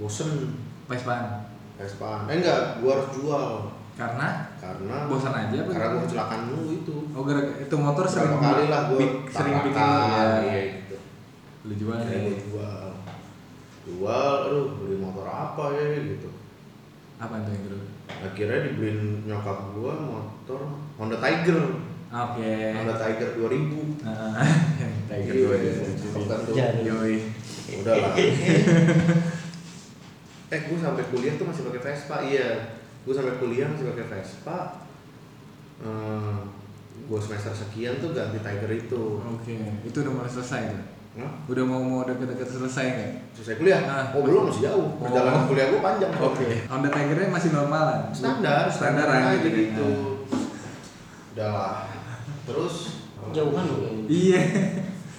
[SPEAKER 2] bosen
[SPEAKER 3] Vespaan.
[SPEAKER 2] Vespa eh enggak gua harus jual
[SPEAKER 3] Karena
[SPEAKER 2] karena
[SPEAKER 3] bosan aja apa
[SPEAKER 2] karena gua
[SPEAKER 3] gimana?
[SPEAKER 2] kecelakaan dulu itu
[SPEAKER 3] Oh, gara itu motor
[SPEAKER 2] berapa
[SPEAKER 3] sering
[SPEAKER 2] kali lah gua
[SPEAKER 3] bik- sering bikin lu,
[SPEAKER 2] tabrakan,
[SPEAKER 3] ya.
[SPEAKER 2] iya gitu
[SPEAKER 3] Lu jual
[SPEAKER 2] Akhirnya
[SPEAKER 3] ya.
[SPEAKER 2] gua jual jual aduh beli motor apa ya gitu
[SPEAKER 3] Apa tuh yang dulu?
[SPEAKER 2] akhirnya dibeliin nyokap gua motor Honda Tiger
[SPEAKER 3] Oke.
[SPEAKER 2] Honda Tiger 2000
[SPEAKER 3] Ah, Tiger
[SPEAKER 2] Iya,
[SPEAKER 3] dua
[SPEAKER 2] iya,
[SPEAKER 3] ya.
[SPEAKER 2] bukan tuh.
[SPEAKER 1] Jadi.
[SPEAKER 3] Yoi.
[SPEAKER 2] Udah lah. eh, gue sampai kuliah tuh masih pakai Vespa. Iya, gue sampai kuliah masih pakai Vespa. Eh, gue semester sekian tuh ganti Tiger itu.
[SPEAKER 3] Oke, itu udah mulai selesai tuh.
[SPEAKER 2] Nah,
[SPEAKER 3] Udah mau mau deket-deket selesai nggak?
[SPEAKER 2] selesai kuliah.
[SPEAKER 3] Ah.
[SPEAKER 2] oh belum masih jauh. Perjalanan
[SPEAKER 3] Oh.
[SPEAKER 2] kuliah gue panjang.
[SPEAKER 3] Honda Tigernya masih normalan.
[SPEAKER 2] Standar,
[SPEAKER 3] standar
[SPEAKER 2] aja
[SPEAKER 3] aja
[SPEAKER 2] gitu. Udah lah. Terus
[SPEAKER 1] Jauhan lu kayaknya.
[SPEAKER 3] Iya.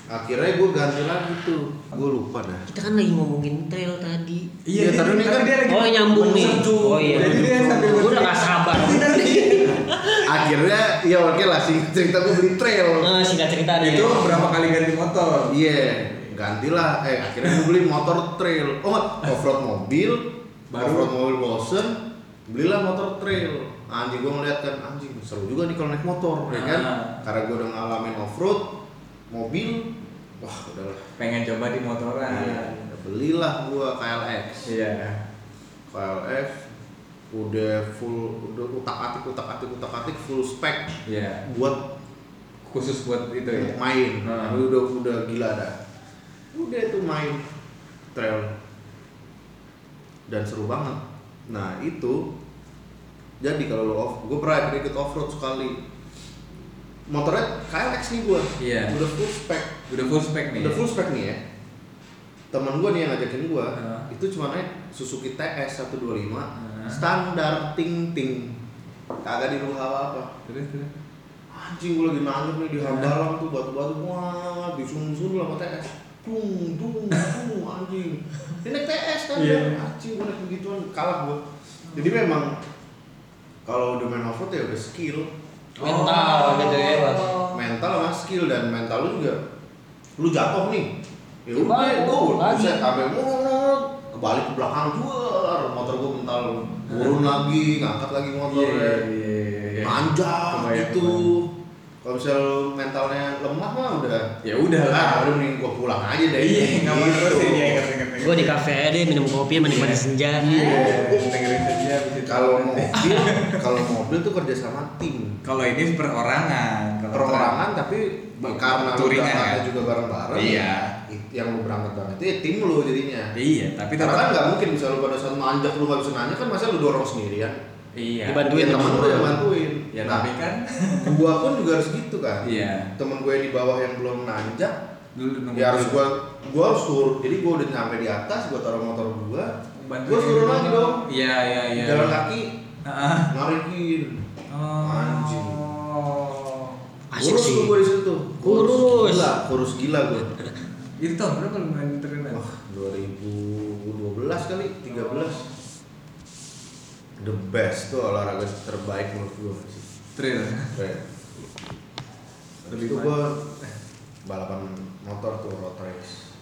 [SPEAKER 2] akhirnya gue ganti lagi tuh. Gue lupa dah.
[SPEAKER 1] Kita kan lagi ngomongin trail tadi.
[SPEAKER 3] Iya,
[SPEAKER 2] Iya, tapi
[SPEAKER 3] tapi
[SPEAKER 2] kan-
[SPEAKER 3] dia lagi.
[SPEAKER 1] Oh nyambung nih.
[SPEAKER 3] Mencucu.
[SPEAKER 1] Oh iya.
[SPEAKER 3] Jadi dia Iya. sambil
[SPEAKER 1] Gue udah gak sabar.
[SPEAKER 2] Akhirnya ya oke lah sih cerita gue beli trail.
[SPEAKER 1] Eh, singkat cerita deh.
[SPEAKER 3] Itu berapa kali ganti motor?
[SPEAKER 2] Iya, gantilah. Eh, akhirnya gue beli motor trail. Oh, offroad mobil.
[SPEAKER 3] Baru.
[SPEAKER 2] Offroad mobil bosen. Belilah motor trail. Anjing gue ngeliat kan, anjing seru juga nih kalau naik motor, ya kan?
[SPEAKER 3] Ah.
[SPEAKER 2] Karena gue udah ngalamin offroad, mobil. Wah, udahlah.
[SPEAKER 3] Pengen coba di motoran.
[SPEAKER 2] Iya, belilah gue KLX.
[SPEAKER 3] Ah. Iya.
[SPEAKER 2] KLX udah full, udah utak atik, utak atik, utak atik, full spec
[SPEAKER 3] Iya.
[SPEAKER 2] buat
[SPEAKER 3] Khusus buat itu ya.
[SPEAKER 2] main
[SPEAKER 3] Hmm.
[SPEAKER 2] Iya. Nah, Lu udah udah gila dah udah itu main trail dan seru banget nah itu jadi kalau lo off gue pernah ikut off road sekali motornya KLX nih gue
[SPEAKER 3] Iya.
[SPEAKER 2] udah full spec
[SPEAKER 3] Udah full spec nih.
[SPEAKER 2] udah full spec nih ya teman gue nih yang ngajakin gue
[SPEAKER 3] Hmm.
[SPEAKER 2] itu cuma naik Suzuki TS 125
[SPEAKER 3] Hmm.
[SPEAKER 2] standar ting ting kagak dirubah apa-apa
[SPEAKER 3] Terus terus.
[SPEAKER 2] anjing gue lagi nanyuk nih di hambalang tuh batu-batu wah disun-sun lah sama TS dung dung dung anjing ini naik TS kan
[SPEAKER 3] Iya.
[SPEAKER 2] ya anjing gue naik begituan kalah gue jadi memang kalau udah main offroad ya udah skill
[SPEAKER 1] Mental gitu ya.
[SPEAKER 3] Oh.
[SPEAKER 2] mental sama skill dan mental lu juga lu jatuh nih ya
[SPEAKER 1] Coba,
[SPEAKER 2] udah gue
[SPEAKER 1] lagi.
[SPEAKER 2] bisa sampai mulut kebalik ke belakang juar motor gue mental
[SPEAKER 1] Nah. iya.
[SPEAKER 2] Iya, eh. turun lagi ngangkat lagi motornya
[SPEAKER 3] Iya.
[SPEAKER 2] manja
[SPEAKER 3] Kebayang,
[SPEAKER 2] gitu kalau misalnya lu mentalnya lemah mah udah
[SPEAKER 3] Ya udah lah.
[SPEAKER 2] ah, udah mending gua pulang aja deh Gitu.
[SPEAKER 3] Iya, nggak mau terusin ya ingat-ingat.
[SPEAKER 1] Gue di kafe aja deh minum kopi menikmati senja.
[SPEAKER 3] Iya, dengerin saja. abis itu
[SPEAKER 2] kalau
[SPEAKER 3] nanti.
[SPEAKER 2] mobil kalau mobil tuh kerja sama tim
[SPEAKER 3] kalau ini perorangan, kalau
[SPEAKER 2] perorangan tapi
[SPEAKER 3] Bang,
[SPEAKER 2] karena lu
[SPEAKER 3] touringan
[SPEAKER 2] berangkatnya
[SPEAKER 3] Iya, ya?
[SPEAKER 2] juga bareng-bareng
[SPEAKER 3] Iya.
[SPEAKER 2] it- yang lu berangkat bareng itu ya tim lu jadinya
[SPEAKER 3] Iya, tapi
[SPEAKER 2] karena kan
[SPEAKER 3] tetap
[SPEAKER 2] nggak mungkin bisa lu pada saat manjak lu nggak bisa nanya kan masa lu dorong sendirian
[SPEAKER 3] Iya.
[SPEAKER 1] Dibantuin
[SPEAKER 2] ya, temen
[SPEAKER 1] temen
[SPEAKER 2] lu yang
[SPEAKER 1] lu.
[SPEAKER 2] bantuin
[SPEAKER 3] Ya
[SPEAKER 2] nah
[SPEAKER 3] tapi kan
[SPEAKER 2] gua pun juga harus gitu kan
[SPEAKER 3] iya.
[SPEAKER 2] temen gue di bawah yang belum nanjak
[SPEAKER 3] Dulu nunggu
[SPEAKER 2] ya harus gua gua harus turun jadi gua udah nyampe di atas gua taruh motor gua
[SPEAKER 3] bantuin
[SPEAKER 2] gua turun
[SPEAKER 3] dulu.
[SPEAKER 2] lagi dong
[SPEAKER 3] Iya, iya, iya.
[SPEAKER 2] jalan kaki
[SPEAKER 3] Heeh.
[SPEAKER 2] ngarikin
[SPEAKER 3] Oh.
[SPEAKER 2] Anjing.
[SPEAKER 1] Asik
[SPEAKER 2] kurus
[SPEAKER 1] sih.
[SPEAKER 2] tuh gua di situ
[SPEAKER 1] Kurus.
[SPEAKER 2] gila kurus gila gua
[SPEAKER 3] Itu tahun berapa lu main internet?
[SPEAKER 2] Wah, 2012 kali, 13. The best tuh olahraga terbaik menurut gue.
[SPEAKER 3] Trail.
[SPEAKER 2] Keren. Habis
[SPEAKER 3] Lebih
[SPEAKER 2] itu
[SPEAKER 3] main.
[SPEAKER 2] gue balapan motor tuh road race.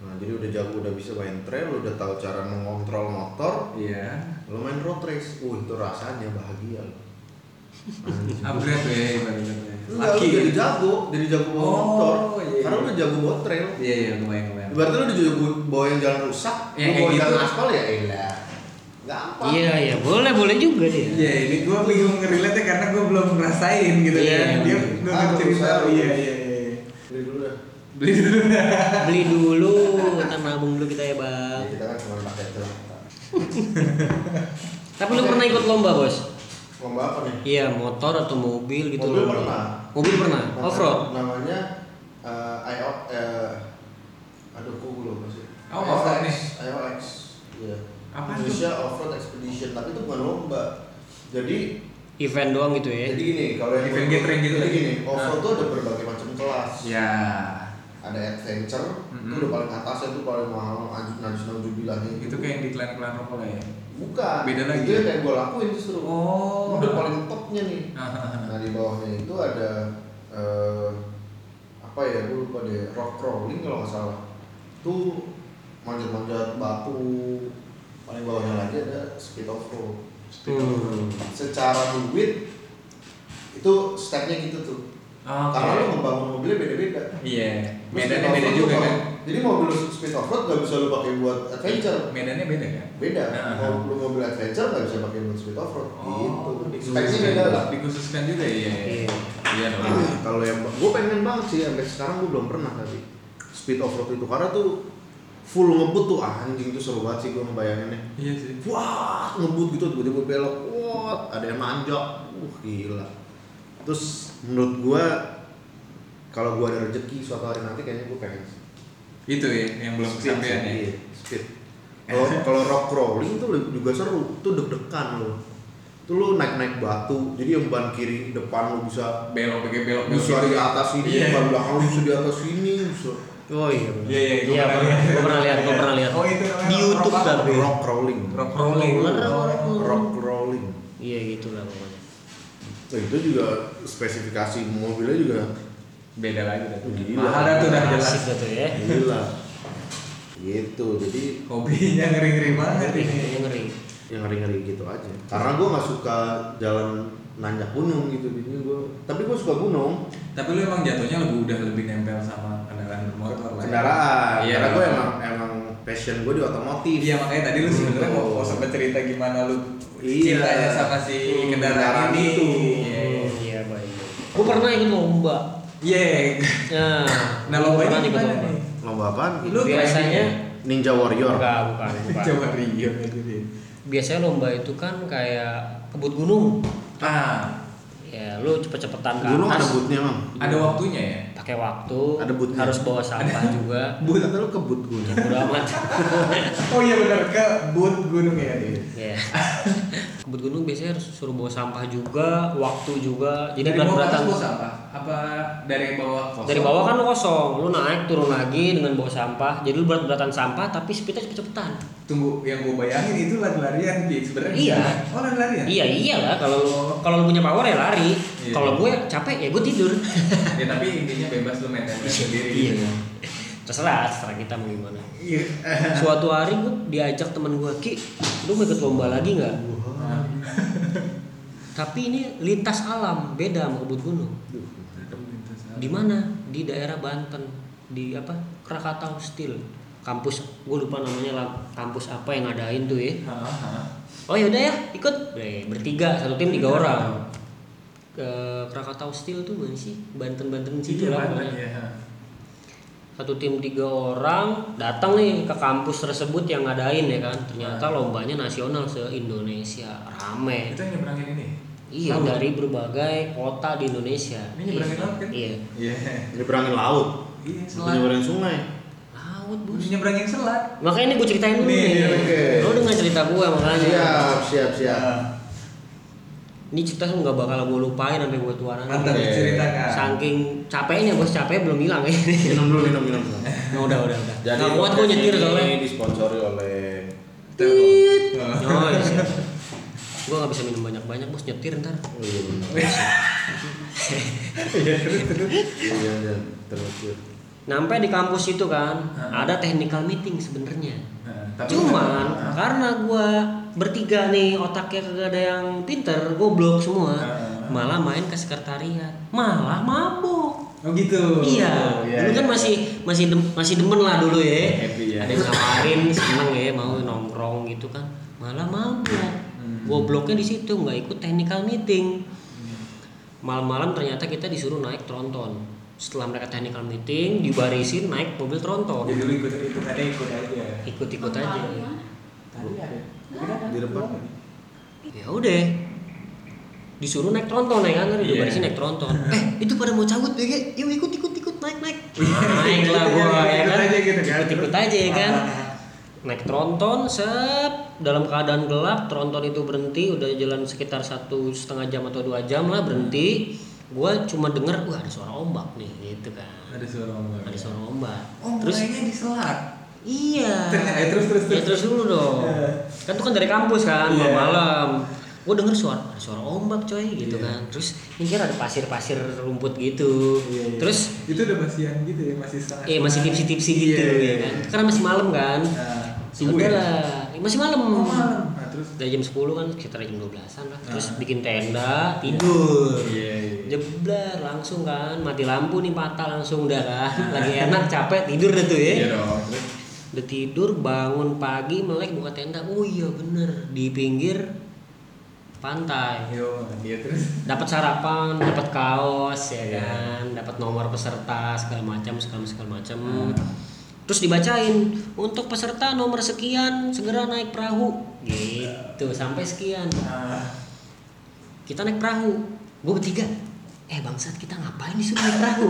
[SPEAKER 2] Nah, jadi udah jago, udah bisa main trail, udah tahu cara mengontrol motor,
[SPEAKER 3] Iya.
[SPEAKER 2] lo main road race. Uh, itu rasanya bahagia lo.
[SPEAKER 3] Upgrade tuh ya ibaratnya.
[SPEAKER 2] Laki jadi jago, jadi jago bawa
[SPEAKER 3] Oh,
[SPEAKER 2] motor.
[SPEAKER 3] iya.
[SPEAKER 2] Karena udah jago bawa trail.
[SPEAKER 3] Iya, iya, lumayan, lumayan.
[SPEAKER 2] Berarti lu juga bawa yang jalan rusak,
[SPEAKER 3] Ya,
[SPEAKER 2] lu
[SPEAKER 3] kayak
[SPEAKER 2] bawa
[SPEAKER 3] gitu.
[SPEAKER 2] jalan aspal ya elah. Gampang.
[SPEAKER 1] Iya iya boleh boleh juga dia.
[SPEAKER 3] Iya ini gue bingung ngerelate karena gue belum ngerasain gitu
[SPEAKER 1] Iya.
[SPEAKER 3] kan Dia udah
[SPEAKER 2] Ah,
[SPEAKER 3] cerita
[SPEAKER 2] belum.
[SPEAKER 3] Iya iya iya
[SPEAKER 2] Beli dulu dah.
[SPEAKER 3] Beli dulu
[SPEAKER 1] Beli dulu, ntar nabung dulu kita ya
[SPEAKER 3] Ah.
[SPEAKER 2] Ya,
[SPEAKER 1] bang.
[SPEAKER 2] kita kan cuma pakai celana.
[SPEAKER 1] Tapi lu pernah ikut lomba bos?
[SPEAKER 2] Lomba apa nih?
[SPEAKER 1] Iya motor atau mobil gitu
[SPEAKER 2] Mobil
[SPEAKER 1] lomba.
[SPEAKER 2] pernah.
[SPEAKER 1] Mobil pernah.
[SPEAKER 2] Nama-
[SPEAKER 1] Off road.
[SPEAKER 2] Namanya eh IO eh aduh kok gue lupa sih.
[SPEAKER 3] Oh, off-road nih.
[SPEAKER 2] IOX. Iya.
[SPEAKER 3] Apa tuh?
[SPEAKER 2] Indonesia Off-road Expedition, tapi itu bukan lomba. Jadi
[SPEAKER 1] Event doang gitu ya.
[SPEAKER 2] jadi gini, kalau yang
[SPEAKER 3] Eh, Event
[SPEAKER 2] gua-
[SPEAKER 3] gathering gitu
[SPEAKER 2] jadi
[SPEAKER 3] lagi.
[SPEAKER 2] gini, off-road
[SPEAKER 3] Ah.
[SPEAKER 2] tuh ada berbagai macam kelas.
[SPEAKER 3] Ya
[SPEAKER 2] Ada adventure, itu
[SPEAKER 3] Mhm.
[SPEAKER 2] udah paling atasnya tuh paling mahal, anjing najis bilangnya.
[SPEAKER 3] Itu kayak yang di klan-klan rokok lah ya
[SPEAKER 2] gitu. Bukan.
[SPEAKER 3] Beda lagi. ya?
[SPEAKER 2] Itu yang kayak gue lakuin justru.
[SPEAKER 3] Oh.
[SPEAKER 2] Udah paling topnya nih.
[SPEAKER 3] Ah.
[SPEAKER 2] Nah di bawahnya itu ada eh, apa ya? Gue lupa deh. Rock crawling kalau nggak salah. Itu manjat-manjat batu. Paling bawahnya lagi ada speed off road.
[SPEAKER 3] gitu.
[SPEAKER 1] Hmm.
[SPEAKER 2] Secara duit itu stepnya gitu tuh.
[SPEAKER 3] Ah, Oke.
[SPEAKER 2] Karena lo membangun mobilnya beda-beda.
[SPEAKER 3] Iya
[SPEAKER 2] Terus
[SPEAKER 3] Medannya
[SPEAKER 2] speed
[SPEAKER 3] beda
[SPEAKER 2] off-road
[SPEAKER 3] juga
[SPEAKER 2] tuh
[SPEAKER 3] kan
[SPEAKER 2] kalau- Jadi mobil speed off road nggak bisa lo pakai buat adventure
[SPEAKER 3] Medannya beda kan
[SPEAKER 2] beda
[SPEAKER 3] Ah.
[SPEAKER 2] mau lu mobil adventure nggak bisa pakai buat speed off road
[SPEAKER 3] Oh,
[SPEAKER 2] gitu speknya
[SPEAKER 3] dikhususkan-
[SPEAKER 2] beda lah
[SPEAKER 3] Dikhususkan juga iya
[SPEAKER 1] Iya.
[SPEAKER 3] Iya dong
[SPEAKER 2] kalau yang gue pengen banget sih sampai sekarang gue belum pernah tapi speed off road itu karena tuh full ngebut tuh ah, anjing tuh seru banget sih gue ngebayanginnya
[SPEAKER 3] Iya sih
[SPEAKER 2] wah ngebut gitu tiba-tiba belok wah ada yang nanjak uh gila terus menurut gue kalau gue ada rezeki suatu hari nanti kayaknya gue pengen
[SPEAKER 3] Itu ya yang belum
[SPEAKER 2] speed
[SPEAKER 3] kesampaian ya
[SPEAKER 2] sih, iya, speed kalau kalau rock crawling tuh juga seru tuh deg-degan lo tuh lo naik-naik batu jadi yang ban kiri depan lo bisa
[SPEAKER 3] Belok pakai belok belok
[SPEAKER 2] bisa
[SPEAKER 3] gitu.
[SPEAKER 2] di atas ini
[SPEAKER 3] Iya.
[SPEAKER 2] ban belakang lo bisa di atas ini bisa
[SPEAKER 1] Oh iya. benar.
[SPEAKER 3] Iya, iya, gua
[SPEAKER 1] Iya,
[SPEAKER 3] pernah
[SPEAKER 1] pernah,
[SPEAKER 3] lihat.
[SPEAKER 1] gua pernah lihat, gua pernah lihat.
[SPEAKER 3] Oh, itu
[SPEAKER 1] di
[SPEAKER 3] namanya rock
[SPEAKER 1] YouTube
[SPEAKER 3] apa?
[SPEAKER 1] tapi.
[SPEAKER 2] rock crawling
[SPEAKER 3] Rock rolling
[SPEAKER 2] rock crawling
[SPEAKER 1] Iya gitulah pokoknya.
[SPEAKER 2] Nah, itu juga spesifikasi mobilnya juga
[SPEAKER 3] Beda lagi dah tuh.
[SPEAKER 2] Gila.
[SPEAKER 3] Mahal dah tuh dah jelas
[SPEAKER 1] Asik gitu ya.
[SPEAKER 2] gila gitu jadi
[SPEAKER 3] Hobinya ngeri-ngeri banget
[SPEAKER 1] Ngeri,
[SPEAKER 3] ini
[SPEAKER 1] ngeri.
[SPEAKER 2] yang ngeri-ngeri gitu aja karena gue nggak suka jalan nanjak gunung gitu jadi gue tapi gue suka gunung
[SPEAKER 3] Tapi lu emang jatuhnya lebih udah lebih nempel sama kendaraan bermotor lah. ya?
[SPEAKER 2] kendaraan
[SPEAKER 3] Iya.
[SPEAKER 2] karena gue emang emang passion gue di otomotif
[SPEAKER 3] Iya makanya tadi lu sebenarnya mau, mau sempat cerita gimana lu
[SPEAKER 2] Iya.
[SPEAKER 3] cintanya sama si
[SPEAKER 2] Hmm, kendaraan
[SPEAKER 3] kendaraan ini.
[SPEAKER 2] itu.
[SPEAKER 3] Iya.
[SPEAKER 1] Hmm, Iya baik. Gua pernah ikut lomba.
[SPEAKER 3] Iya.
[SPEAKER 1] Nah,
[SPEAKER 3] Nah
[SPEAKER 1] gua
[SPEAKER 3] lomba
[SPEAKER 1] pernah
[SPEAKER 3] ini
[SPEAKER 1] ikut
[SPEAKER 3] gimana
[SPEAKER 1] lomba.
[SPEAKER 3] nih?
[SPEAKER 2] lomba apaan
[SPEAKER 3] Lu
[SPEAKER 1] Biasanya
[SPEAKER 2] ninja warrior
[SPEAKER 1] enggak bukan, bukan.
[SPEAKER 3] Coba Rio aja deh.
[SPEAKER 1] Biasanya lomba itu kan kayak kebut gunung.
[SPEAKER 3] Ah,
[SPEAKER 1] Ya, lu cepet-cepetan ke
[SPEAKER 2] gunung ada
[SPEAKER 1] atas.
[SPEAKER 2] bootnya mang
[SPEAKER 3] ada waktunya ya?
[SPEAKER 1] Pakai waktu.
[SPEAKER 2] Ada bootnya.
[SPEAKER 1] Harus bawa sampah juga.
[SPEAKER 2] boot atau lu kebut gunung
[SPEAKER 1] Bodo amat.
[SPEAKER 3] Oh iya benar ke boot gunung ya.
[SPEAKER 1] Ya. Kebut gunung biasanya harus suruh bawa sampah juga, waktu juga. Jadi
[SPEAKER 3] Dari bawah atas
[SPEAKER 1] berat-beratan.
[SPEAKER 3] bos apa? Apa dari bawah kosong?
[SPEAKER 1] Dari bawah kan lu kosong, lu naik turun lagi dengan bawa sampah. Jadi lu berat-beratan sampah tapi speednya cepet-cepetan.
[SPEAKER 3] Tunggu yang gue bayangin itu lari-larian Pi, sebenarnya.
[SPEAKER 1] Iya.
[SPEAKER 3] Oh lari-larian.
[SPEAKER 1] Iya iyalah kalau lu kalau lu punya power ya lari.
[SPEAKER 3] Iya.
[SPEAKER 1] Kalau gue capek ya gue tidur.
[SPEAKER 3] ya tapi intinya bebas lu main handphone sendiri
[SPEAKER 1] Iya.
[SPEAKER 3] gitu.
[SPEAKER 1] Terserah, terserah kita mau gimana.
[SPEAKER 3] Iya.
[SPEAKER 1] Suatu hari gue diajak temen gue Ki, lu mau ikut lomba lagi nggak? Tapi ini lintas alam, beda sama kebut gunung.
[SPEAKER 3] gitu,
[SPEAKER 1] Di mana? Di daerah Banten, di apa? Krakatau Steel. Kampus, gue lupa namanya lah, kampus apa yang ngadain tuh ya. Oh yaudah ya, ikut. Eh, bertiga, satu tim tiga orang. Ke Krakatau Steel tuh mana sih? Banten-Banten
[SPEAKER 3] Iya,
[SPEAKER 1] situ lah pokoknya
[SPEAKER 3] ya,
[SPEAKER 1] satu tim tiga orang datang nih ke kampus tersebut yang ngadain ya kan ternyata lombanya nasional se Indonesia rame
[SPEAKER 4] Kita nyeberangin ini.
[SPEAKER 1] iya
[SPEAKER 4] Laut.
[SPEAKER 1] dari berbagai kota di Indonesia
[SPEAKER 4] Ini nyeberangin laut kan?
[SPEAKER 1] iya
[SPEAKER 4] Iya.
[SPEAKER 2] Nyeberangin laut,
[SPEAKER 4] Iya,
[SPEAKER 2] bukan
[SPEAKER 4] selat.
[SPEAKER 2] nyeberangin sungai.
[SPEAKER 1] laut bos
[SPEAKER 4] Nyeberangin selat.
[SPEAKER 1] makanya ini gue ceritain dulu
[SPEAKER 4] Nih,
[SPEAKER 1] nih,
[SPEAKER 4] iya,
[SPEAKER 2] oke.
[SPEAKER 1] lo dengan cerita gue makanya
[SPEAKER 2] Siap, siap, siap.
[SPEAKER 1] ini cerita tuh nggak bakal gue lupain sampai gue tua nanti
[SPEAKER 3] Mantap
[SPEAKER 2] Oke.
[SPEAKER 3] diceritakan.
[SPEAKER 1] saking capeknya bos capek belum hilang ya ini
[SPEAKER 2] Minum dulu, minum, minum.
[SPEAKER 1] Nah, udah udah udah nggak kuat gue nyetir
[SPEAKER 2] podcast
[SPEAKER 1] soalnya
[SPEAKER 2] Ini disponsori oleh
[SPEAKER 3] Nah,
[SPEAKER 1] Oh iya. Gue gak bisa minum banyak-banyak bos nyetir ntar.
[SPEAKER 2] Iya, iya, terus.
[SPEAKER 1] Nampai di kampus itu kan
[SPEAKER 4] Hah?
[SPEAKER 1] ada technical meeting sebenarnya.
[SPEAKER 4] Nah,
[SPEAKER 1] Cuman
[SPEAKER 4] Nah,
[SPEAKER 1] karena gue bertiga nih otaknya kagak ada yang pinter, goblok semua.
[SPEAKER 4] Hah?
[SPEAKER 1] Malah main ke sekretariat, malah mabuk.
[SPEAKER 3] Oh gitu.
[SPEAKER 1] iya, dulu kan masih masih dem- masih demen lah dulu ya.
[SPEAKER 3] Happy ya.
[SPEAKER 1] Ada yang nawarin seneng ya mau nongkrong gitu kan, malah mabuk. Hmm. Gobloknya di situ nggak ikut technical meeting. malam-malam ternyata kita disuruh naik tronton setelah mereka technical meeting dibarisin naik mobil tronton
[SPEAKER 4] Jadi lu ikut ikut aja ikut aja.
[SPEAKER 1] ikut-ikut aja
[SPEAKER 4] Tadi ada.
[SPEAKER 2] Di depan.
[SPEAKER 1] ya udah disuruh naik tronton ya kan
[SPEAKER 4] Iya.
[SPEAKER 1] dibarisin naik tronton eh itu pada mau cabut BG yuk ikut ikut ikut naik naik naik lah gua ya
[SPEAKER 4] Ikut
[SPEAKER 1] kan
[SPEAKER 4] aja gitu kan.
[SPEAKER 1] ikut ikut aja ya kan
[SPEAKER 4] Ah.
[SPEAKER 1] naik tronton sep dalam keadaan gelap tronton itu berhenti udah jalan sekitar satu setengah jam atau dua jam lah berhenti gua cuma denger wah ada suara ombak nih gitu kan
[SPEAKER 4] Ada suara ombak.
[SPEAKER 1] ada suara ombak
[SPEAKER 4] Oh,
[SPEAKER 1] terus
[SPEAKER 4] mulainya di selat.
[SPEAKER 1] iya
[SPEAKER 4] Ternyata- eh, terus, terus,
[SPEAKER 1] Ya,
[SPEAKER 4] terus.
[SPEAKER 1] terus dulu dong kan tuh kan dari kampus kan
[SPEAKER 4] Iya.
[SPEAKER 1] malam gue denger suara ada suara ombak coy gitu
[SPEAKER 4] Iya.
[SPEAKER 1] kan terus mikir ada pasir-pasir rumput gitu
[SPEAKER 4] Iya, iya.
[SPEAKER 1] terus
[SPEAKER 3] Itu udah masihan gitu ya, masih setengah.
[SPEAKER 1] eh masih tipsi-tipsi gitu
[SPEAKER 4] Iya, iya,
[SPEAKER 1] ya kan
[SPEAKER 4] iya.
[SPEAKER 1] karena masih malam kan
[SPEAKER 4] Nah,
[SPEAKER 1] subuh
[SPEAKER 4] ya?
[SPEAKER 1] masih malam
[SPEAKER 4] Oh, malam. Nah, terus
[SPEAKER 1] dari jam 10 kan sekitar jam 12an lah terus
[SPEAKER 4] Ah.
[SPEAKER 1] bikin tenda tidur
[SPEAKER 4] Iya, iya.
[SPEAKER 1] jeblar langsung kan mati lampu nih mata langsung udah kan lagi enak capek tidur deh tuh ya
[SPEAKER 4] Iya dong. Terus
[SPEAKER 1] udah tidur bangun pagi melek buka tenda oh iya bener di pinggir pantai
[SPEAKER 4] Yo, dia iya, terus.
[SPEAKER 1] dapat sarapan dapat kaos ya kan dapat nomor peserta segala macam segala segala macam terus dibacain untuk peserta nomor sekian segera naik perahu gitu sampai sekian
[SPEAKER 4] Ah,
[SPEAKER 1] kita naik perahu gue bertiga eh bangsat kita ngapain disuruh naik perahu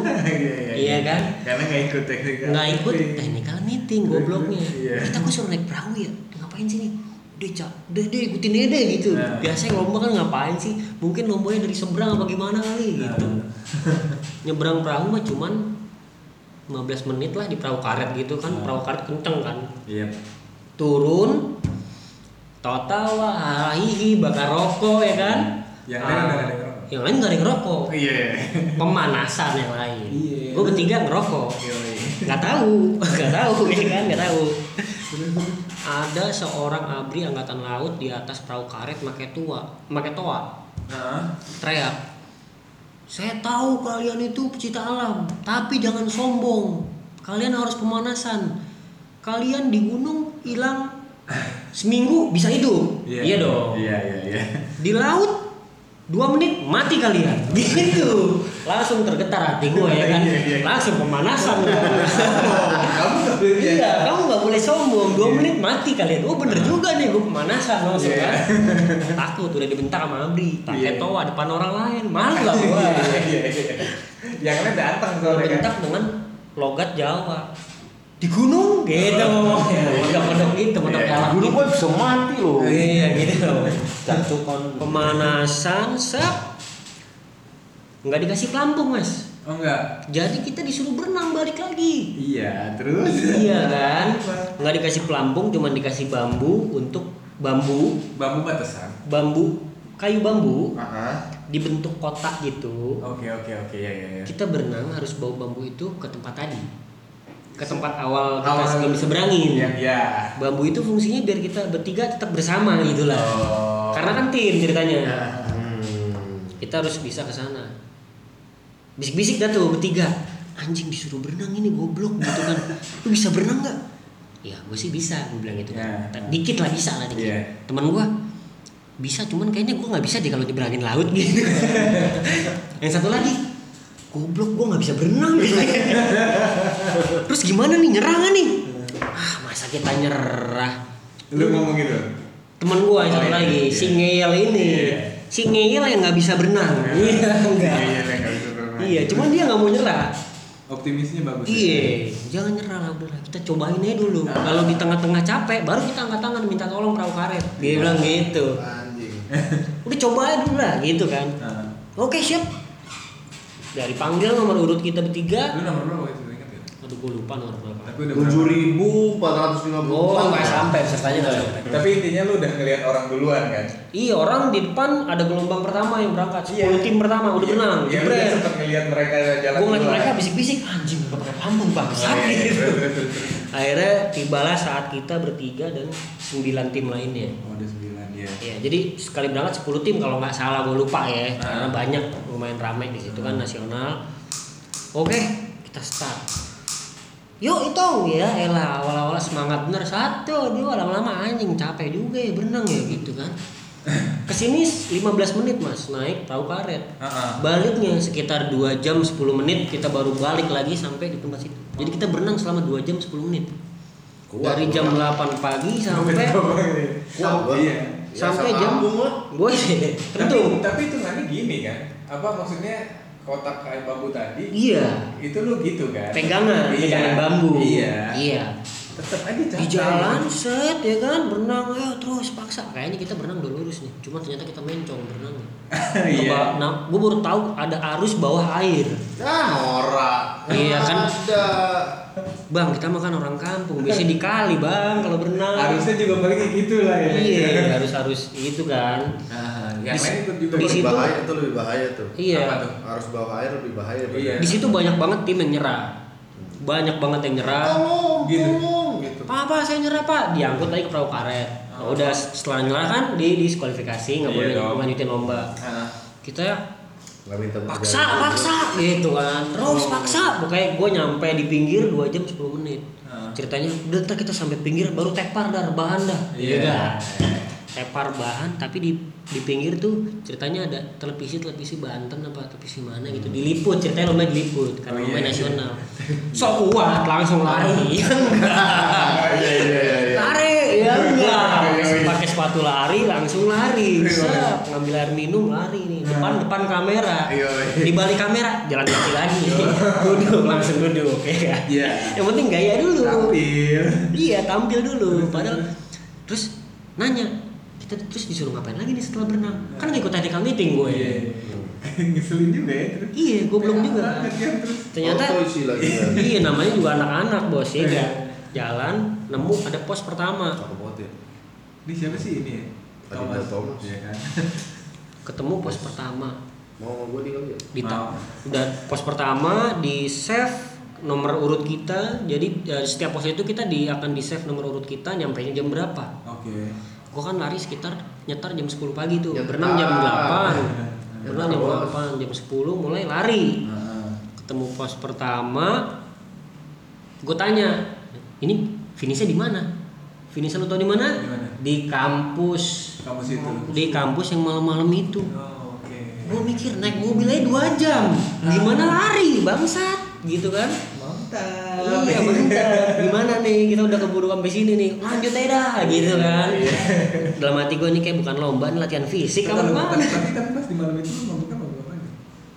[SPEAKER 1] Iya kan?
[SPEAKER 4] Karena nggak ikut teknik. kan?
[SPEAKER 1] nggak ikut technical meeting gobloknya
[SPEAKER 4] Iya.
[SPEAKER 1] kita gue suruh naik perahu ya ngapain sih nih deh cak deh deh ikutin aja deh gitu
[SPEAKER 4] Nah.
[SPEAKER 1] biasanya lomba kan ngapain sih mungkin lombanya dari seberang apa gimana
[SPEAKER 4] Iya.
[SPEAKER 1] kali
[SPEAKER 4] Nah,
[SPEAKER 1] gitu nyebrang perahu mah cuman 15 menit lah di perahu karet gitu kan
[SPEAKER 4] Nah.
[SPEAKER 1] perahu karet kenceng kan
[SPEAKER 4] Iya.
[SPEAKER 1] turun total lah hihi bakar rokok ya kan
[SPEAKER 4] Yang lain
[SPEAKER 1] Ah,
[SPEAKER 4] udah nggak ada yang ngerokok.
[SPEAKER 1] yang lain nggak ada yang ngerokok
[SPEAKER 4] Iya.
[SPEAKER 1] pemanasan yang lain
[SPEAKER 4] Iya.
[SPEAKER 1] gue bertiga ngerokok
[SPEAKER 4] Yo, iya.
[SPEAKER 1] nggak tahu nggak tahu ya kan nggak tahu ada seorang abri angkatan laut di atas perahu karet pakai tua pakai toa
[SPEAKER 4] Ah,
[SPEAKER 1] teriak saya tahu kalian itu pecinta alam tapi jangan sombong kalian harus pemanasan kalian di gunung hilang seminggu bisa hidup iya dong
[SPEAKER 4] Iya iya iya.
[SPEAKER 1] di laut dua menit mati kalian gitu langsung tergetar hati gue ya kan
[SPEAKER 4] Iya, iya.
[SPEAKER 1] langsung pemanasan kamu iya kamu nggak boleh sombong dua menit mati kalian oh bener juga nih gue pemanasan langsung
[SPEAKER 4] Iya.
[SPEAKER 1] kan takut udah dibentak sama Abri pakai
[SPEAKER 4] Iya.
[SPEAKER 1] toa depan orang lain malu lah gue
[SPEAKER 4] Iya iya iya. Yang lain datang soalnya kan.
[SPEAKER 1] dibentak dengan logat Jawa di gunung gitu ngomongnya kodok-kodok gitu kodok
[SPEAKER 4] Iya.
[SPEAKER 1] dalam
[SPEAKER 2] Gunung gue bisa mati loh.
[SPEAKER 1] iya gitu
[SPEAKER 2] Cacukan.
[SPEAKER 1] pemanasan sep nggak dikasih pelampung mas
[SPEAKER 4] Oh enggak.
[SPEAKER 1] jadi kita disuruh berenang balik lagi
[SPEAKER 4] Iya terus.
[SPEAKER 1] iya kan nggak dikasih pelampung cuman dikasih bambu untuk bambu
[SPEAKER 4] Bambu batasan.
[SPEAKER 1] bambu kayu bambu
[SPEAKER 4] Ah.
[SPEAKER 1] dibentuk kotak gitu
[SPEAKER 4] Oke oke oke ya ya ya.
[SPEAKER 1] kita berenang harus bawa bambu itu ke tempat tadi ke tempat awal kita
[SPEAKER 4] Awal.
[SPEAKER 1] sebelum diseberangin
[SPEAKER 4] Iya iya.
[SPEAKER 1] bambu itu fungsinya biar kita bertiga tetap bersama gitu lah
[SPEAKER 4] Oh.
[SPEAKER 1] karena kan tim ceritanya
[SPEAKER 4] Nah,
[SPEAKER 2] Hmm.
[SPEAKER 1] kita harus bisa ke sana bisik-bisik dah tuh bertiga anjing disuruh berenang ini goblok gitu kan lu bisa berenang nggak ya gue sih bisa gue bilang gitu kan.
[SPEAKER 4] Ya.
[SPEAKER 1] Ta- dikit lah bisa lah dikit
[SPEAKER 4] Iya.
[SPEAKER 1] teman gue bisa cuman kayaknya gue nggak bisa deh kalau nyeberangin laut gitu yang satu lagi goblok gue nggak bisa berenang gitu terus gimana nih nyerah nggak nih ah masa kita nyerah
[SPEAKER 4] Lu ngomong gitu.
[SPEAKER 1] temen gua yang
[SPEAKER 4] Oh,
[SPEAKER 1] satu
[SPEAKER 4] iya,
[SPEAKER 1] lagi
[SPEAKER 4] iya.
[SPEAKER 1] si ngeyel ini
[SPEAKER 4] Iya.
[SPEAKER 1] si ngeyel yang nggak bisa berenang iya enggak
[SPEAKER 4] Iya, iya, nggak bisa berenang.
[SPEAKER 1] iya cuman dia nggak mau nyerah
[SPEAKER 3] Optimisnya
[SPEAKER 4] ya?
[SPEAKER 3] bagus.
[SPEAKER 1] iya jangan nyerah lah udah lah. kita cobain aja dulu kalau di tengah-tengah capek baru kita angkat tangan minta tolong perahu karet dia bilang gitu
[SPEAKER 2] anjing Eh,
[SPEAKER 1] udah coba aja dulu lah gitu kan
[SPEAKER 4] Nah,
[SPEAKER 1] oke siap dari panggil nomor urut kita bertiga
[SPEAKER 4] Lu nomor berapa waktu itu ingat ya?
[SPEAKER 1] aduh gua lupa nomor berapa
[SPEAKER 4] Tapi udah
[SPEAKER 2] tujuh
[SPEAKER 4] berapa-
[SPEAKER 2] ribu empat ratus lima puluh
[SPEAKER 1] oh nggak
[SPEAKER 2] Iya.
[SPEAKER 1] sampai pesertanya nggak sampai
[SPEAKER 4] Tapi intinya lu udah ngelihat orang duluan kan?
[SPEAKER 1] Iya orang di depan ada gelombang pertama yang berangkat 10 tim pertama udah berenang
[SPEAKER 4] Iya, lu
[SPEAKER 1] jebret.
[SPEAKER 4] sempet ngelihat mereka jalan
[SPEAKER 1] gue ngeliat
[SPEAKER 4] duluan.
[SPEAKER 1] mereka bisik-bisik anjing gak pakai pelampung bang
[SPEAKER 4] Oh,
[SPEAKER 1] sakit
[SPEAKER 4] iya, iya, terus, terus, terus, terus.
[SPEAKER 1] Gitu. akhirnya tibalah saat kita bertiga dan 9 tim lainnya
[SPEAKER 4] Oh, ada sembilan ya.
[SPEAKER 1] ya jadi sekali berangkat 10 tim kalau nggak salah gue lupa ya
[SPEAKER 4] Ah.
[SPEAKER 1] karena banyak lumayan rame di situ
[SPEAKER 4] Hmm.
[SPEAKER 1] kan nasional oke kita start yuk itu ya elah awal-awal semangat bener satu dua lama-lama anjing capek juga ya berenang ya gitu kan kesini 15 menit mas naik perahu karet
[SPEAKER 4] Heeh.
[SPEAKER 1] Baliknya sekitar 2 jam 10 menit kita baru balik lagi sampai di tempat situ. Jadi kita berenang selama 2 jam 10 menit.
[SPEAKER 2] Kuat,
[SPEAKER 1] Dari jam 8 pagi sampai
[SPEAKER 4] Iya.
[SPEAKER 1] sampai jam Boy,
[SPEAKER 4] Tapi,
[SPEAKER 1] tentu.
[SPEAKER 4] tapi itu nanti gini kan? Apa maksudnya kotak kain bambu tadi?
[SPEAKER 1] Iya,
[SPEAKER 4] Itu lu gitu kan?
[SPEAKER 1] pegangan,
[SPEAKER 4] Iya.
[SPEAKER 1] pegangan bambu.
[SPEAKER 4] Iya.
[SPEAKER 1] Iya.
[SPEAKER 4] Tetap aja capek.
[SPEAKER 1] Di jalan set ya kan berenang ayo terus paksa kayaknya kita berenang udah lurus nih. Cuma ternyata kita mencong berenang.
[SPEAKER 4] Iya.
[SPEAKER 1] Nah, gue baru tahu ada arus bawah air.
[SPEAKER 2] ya norak
[SPEAKER 1] Iya, kan?
[SPEAKER 2] ada
[SPEAKER 1] Bang, kita makan orang kampung, biasanya di kali, Bang, kalau berenang.
[SPEAKER 4] Harusnya juga baliknya gitu lah ya.
[SPEAKER 1] Iya, harus harus itu kan.
[SPEAKER 4] Nah, yang
[SPEAKER 1] Di-
[SPEAKER 4] lain ikut juga.
[SPEAKER 1] di
[SPEAKER 2] lebih
[SPEAKER 1] situ-
[SPEAKER 2] bahaya itu lebih bahaya tuh
[SPEAKER 1] Iya.
[SPEAKER 4] Apa tuh?
[SPEAKER 2] harus bawah air lebih bahaya
[SPEAKER 4] Iya.
[SPEAKER 1] Di situ banyak banget tim yang nyerah. Banyak banget yang nyerah.
[SPEAKER 2] tolong
[SPEAKER 4] Gitu.
[SPEAKER 2] tolong gitu
[SPEAKER 1] Pak, apa saya nyerah pak? Diangkut lagi ke perahu karet. Nah, udah setelah nyerah kan di diskualifikasi nggak
[SPEAKER 4] Oh. Iya
[SPEAKER 1] boleh
[SPEAKER 4] dong.
[SPEAKER 1] lanjutin lomba.
[SPEAKER 4] Ah.
[SPEAKER 1] Kita ya
[SPEAKER 2] nggak minta
[SPEAKER 1] paksa paksa gitu kan terus paksa pokoknya gue nyampe di pinggir 2 jam 10 menit
[SPEAKER 4] Ah.
[SPEAKER 1] ceritanya udah ntar kita sampai pinggir baru tepar dar bahan dah
[SPEAKER 4] Iya.
[SPEAKER 1] Udah. tepar bahan tapi di di pinggir tuh ceritanya ada televisi televisi Banten apa televisi mana gitu diliput ceritanya lumayan diliput karena
[SPEAKER 4] Hmm. Oh, iya,
[SPEAKER 1] lumayan
[SPEAKER 4] iya.
[SPEAKER 1] nasional sok kuat langsung lari ya enggak
[SPEAKER 2] iya iya iya, iya
[SPEAKER 1] lari ya enggak
[SPEAKER 4] Iya, iya.
[SPEAKER 1] pakai sepatu lari langsung lari
[SPEAKER 4] Iya.
[SPEAKER 1] Set, ngambil air minum lari nih depan depan kamera
[SPEAKER 2] Iya, iya.
[SPEAKER 1] di balik kamera jalan kaki lagi duduk langsung duduk ya
[SPEAKER 4] Iya.
[SPEAKER 1] yang penting gaya dulu
[SPEAKER 4] Tampil.
[SPEAKER 1] iya tampil dulu padahal terus nanya kita terus disuruh ngapain lagi nih setelah berenang kan ngikut technical meeting gue
[SPEAKER 4] Iya. Ngeselin juga ya terus.
[SPEAKER 1] iya gue belum juga
[SPEAKER 4] Banget kan, terus.
[SPEAKER 1] ternyata
[SPEAKER 2] Foto isi lagi kan.
[SPEAKER 1] iya namanya juga anak-anak bos ya
[SPEAKER 4] Iya.
[SPEAKER 1] kan? jalan nemu ada pos pertama
[SPEAKER 2] Cakep banget ya.
[SPEAKER 4] Ini siapa sih ini ya?
[SPEAKER 2] Adinda Thomas.
[SPEAKER 4] Iya kan.
[SPEAKER 1] ketemu pos pertama
[SPEAKER 2] mau sama gue nih kali ya
[SPEAKER 1] di ta-
[SPEAKER 4] Mau.
[SPEAKER 1] udah pos pertama di save nomor urut kita jadi ya, setiap pos itu kita di akan di save nomor urut kita nyampe jam berapa
[SPEAKER 4] Oke.
[SPEAKER 1] gua kan lari sekitar nyetar jam 10 pagi tuh
[SPEAKER 2] Nyetar.
[SPEAKER 1] berenang jam 8
[SPEAKER 2] Nyetar
[SPEAKER 1] berenang jam
[SPEAKER 2] bos.
[SPEAKER 1] 8 jam 10 mulai lari
[SPEAKER 4] Ah.
[SPEAKER 1] ketemu pos pertama gue tanya ini finishnya di mana finishnya lu tau di mana
[SPEAKER 4] Di mana?
[SPEAKER 1] di kampus
[SPEAKER 4] Kamu situ.
[SPEAKER 1] di kampus yang malam-malam itu
[SPEAKER 4] Oh, Oke.
[SPEAKER 1] gue mikir naik mobil aja dua jam gimana lari bangsat gitu kan
[SPEAKER 4] Mantap.
[SPEAKER 1] iya bentar gimana nih kita udah keburu sampai sini nih lanjut aja dah
[SPEAKER 2] Iya.
[SPEAKER 1] gitu kan dalam hati gue nih kayak bukan lomba ini latihan fisik apa
[SPEAKER 4] Tapi-
[SPEAKER 1] gimana
[SPEAKER 4] Tapi tapi pas di malam itu lu mabuknya mabuk apa nih?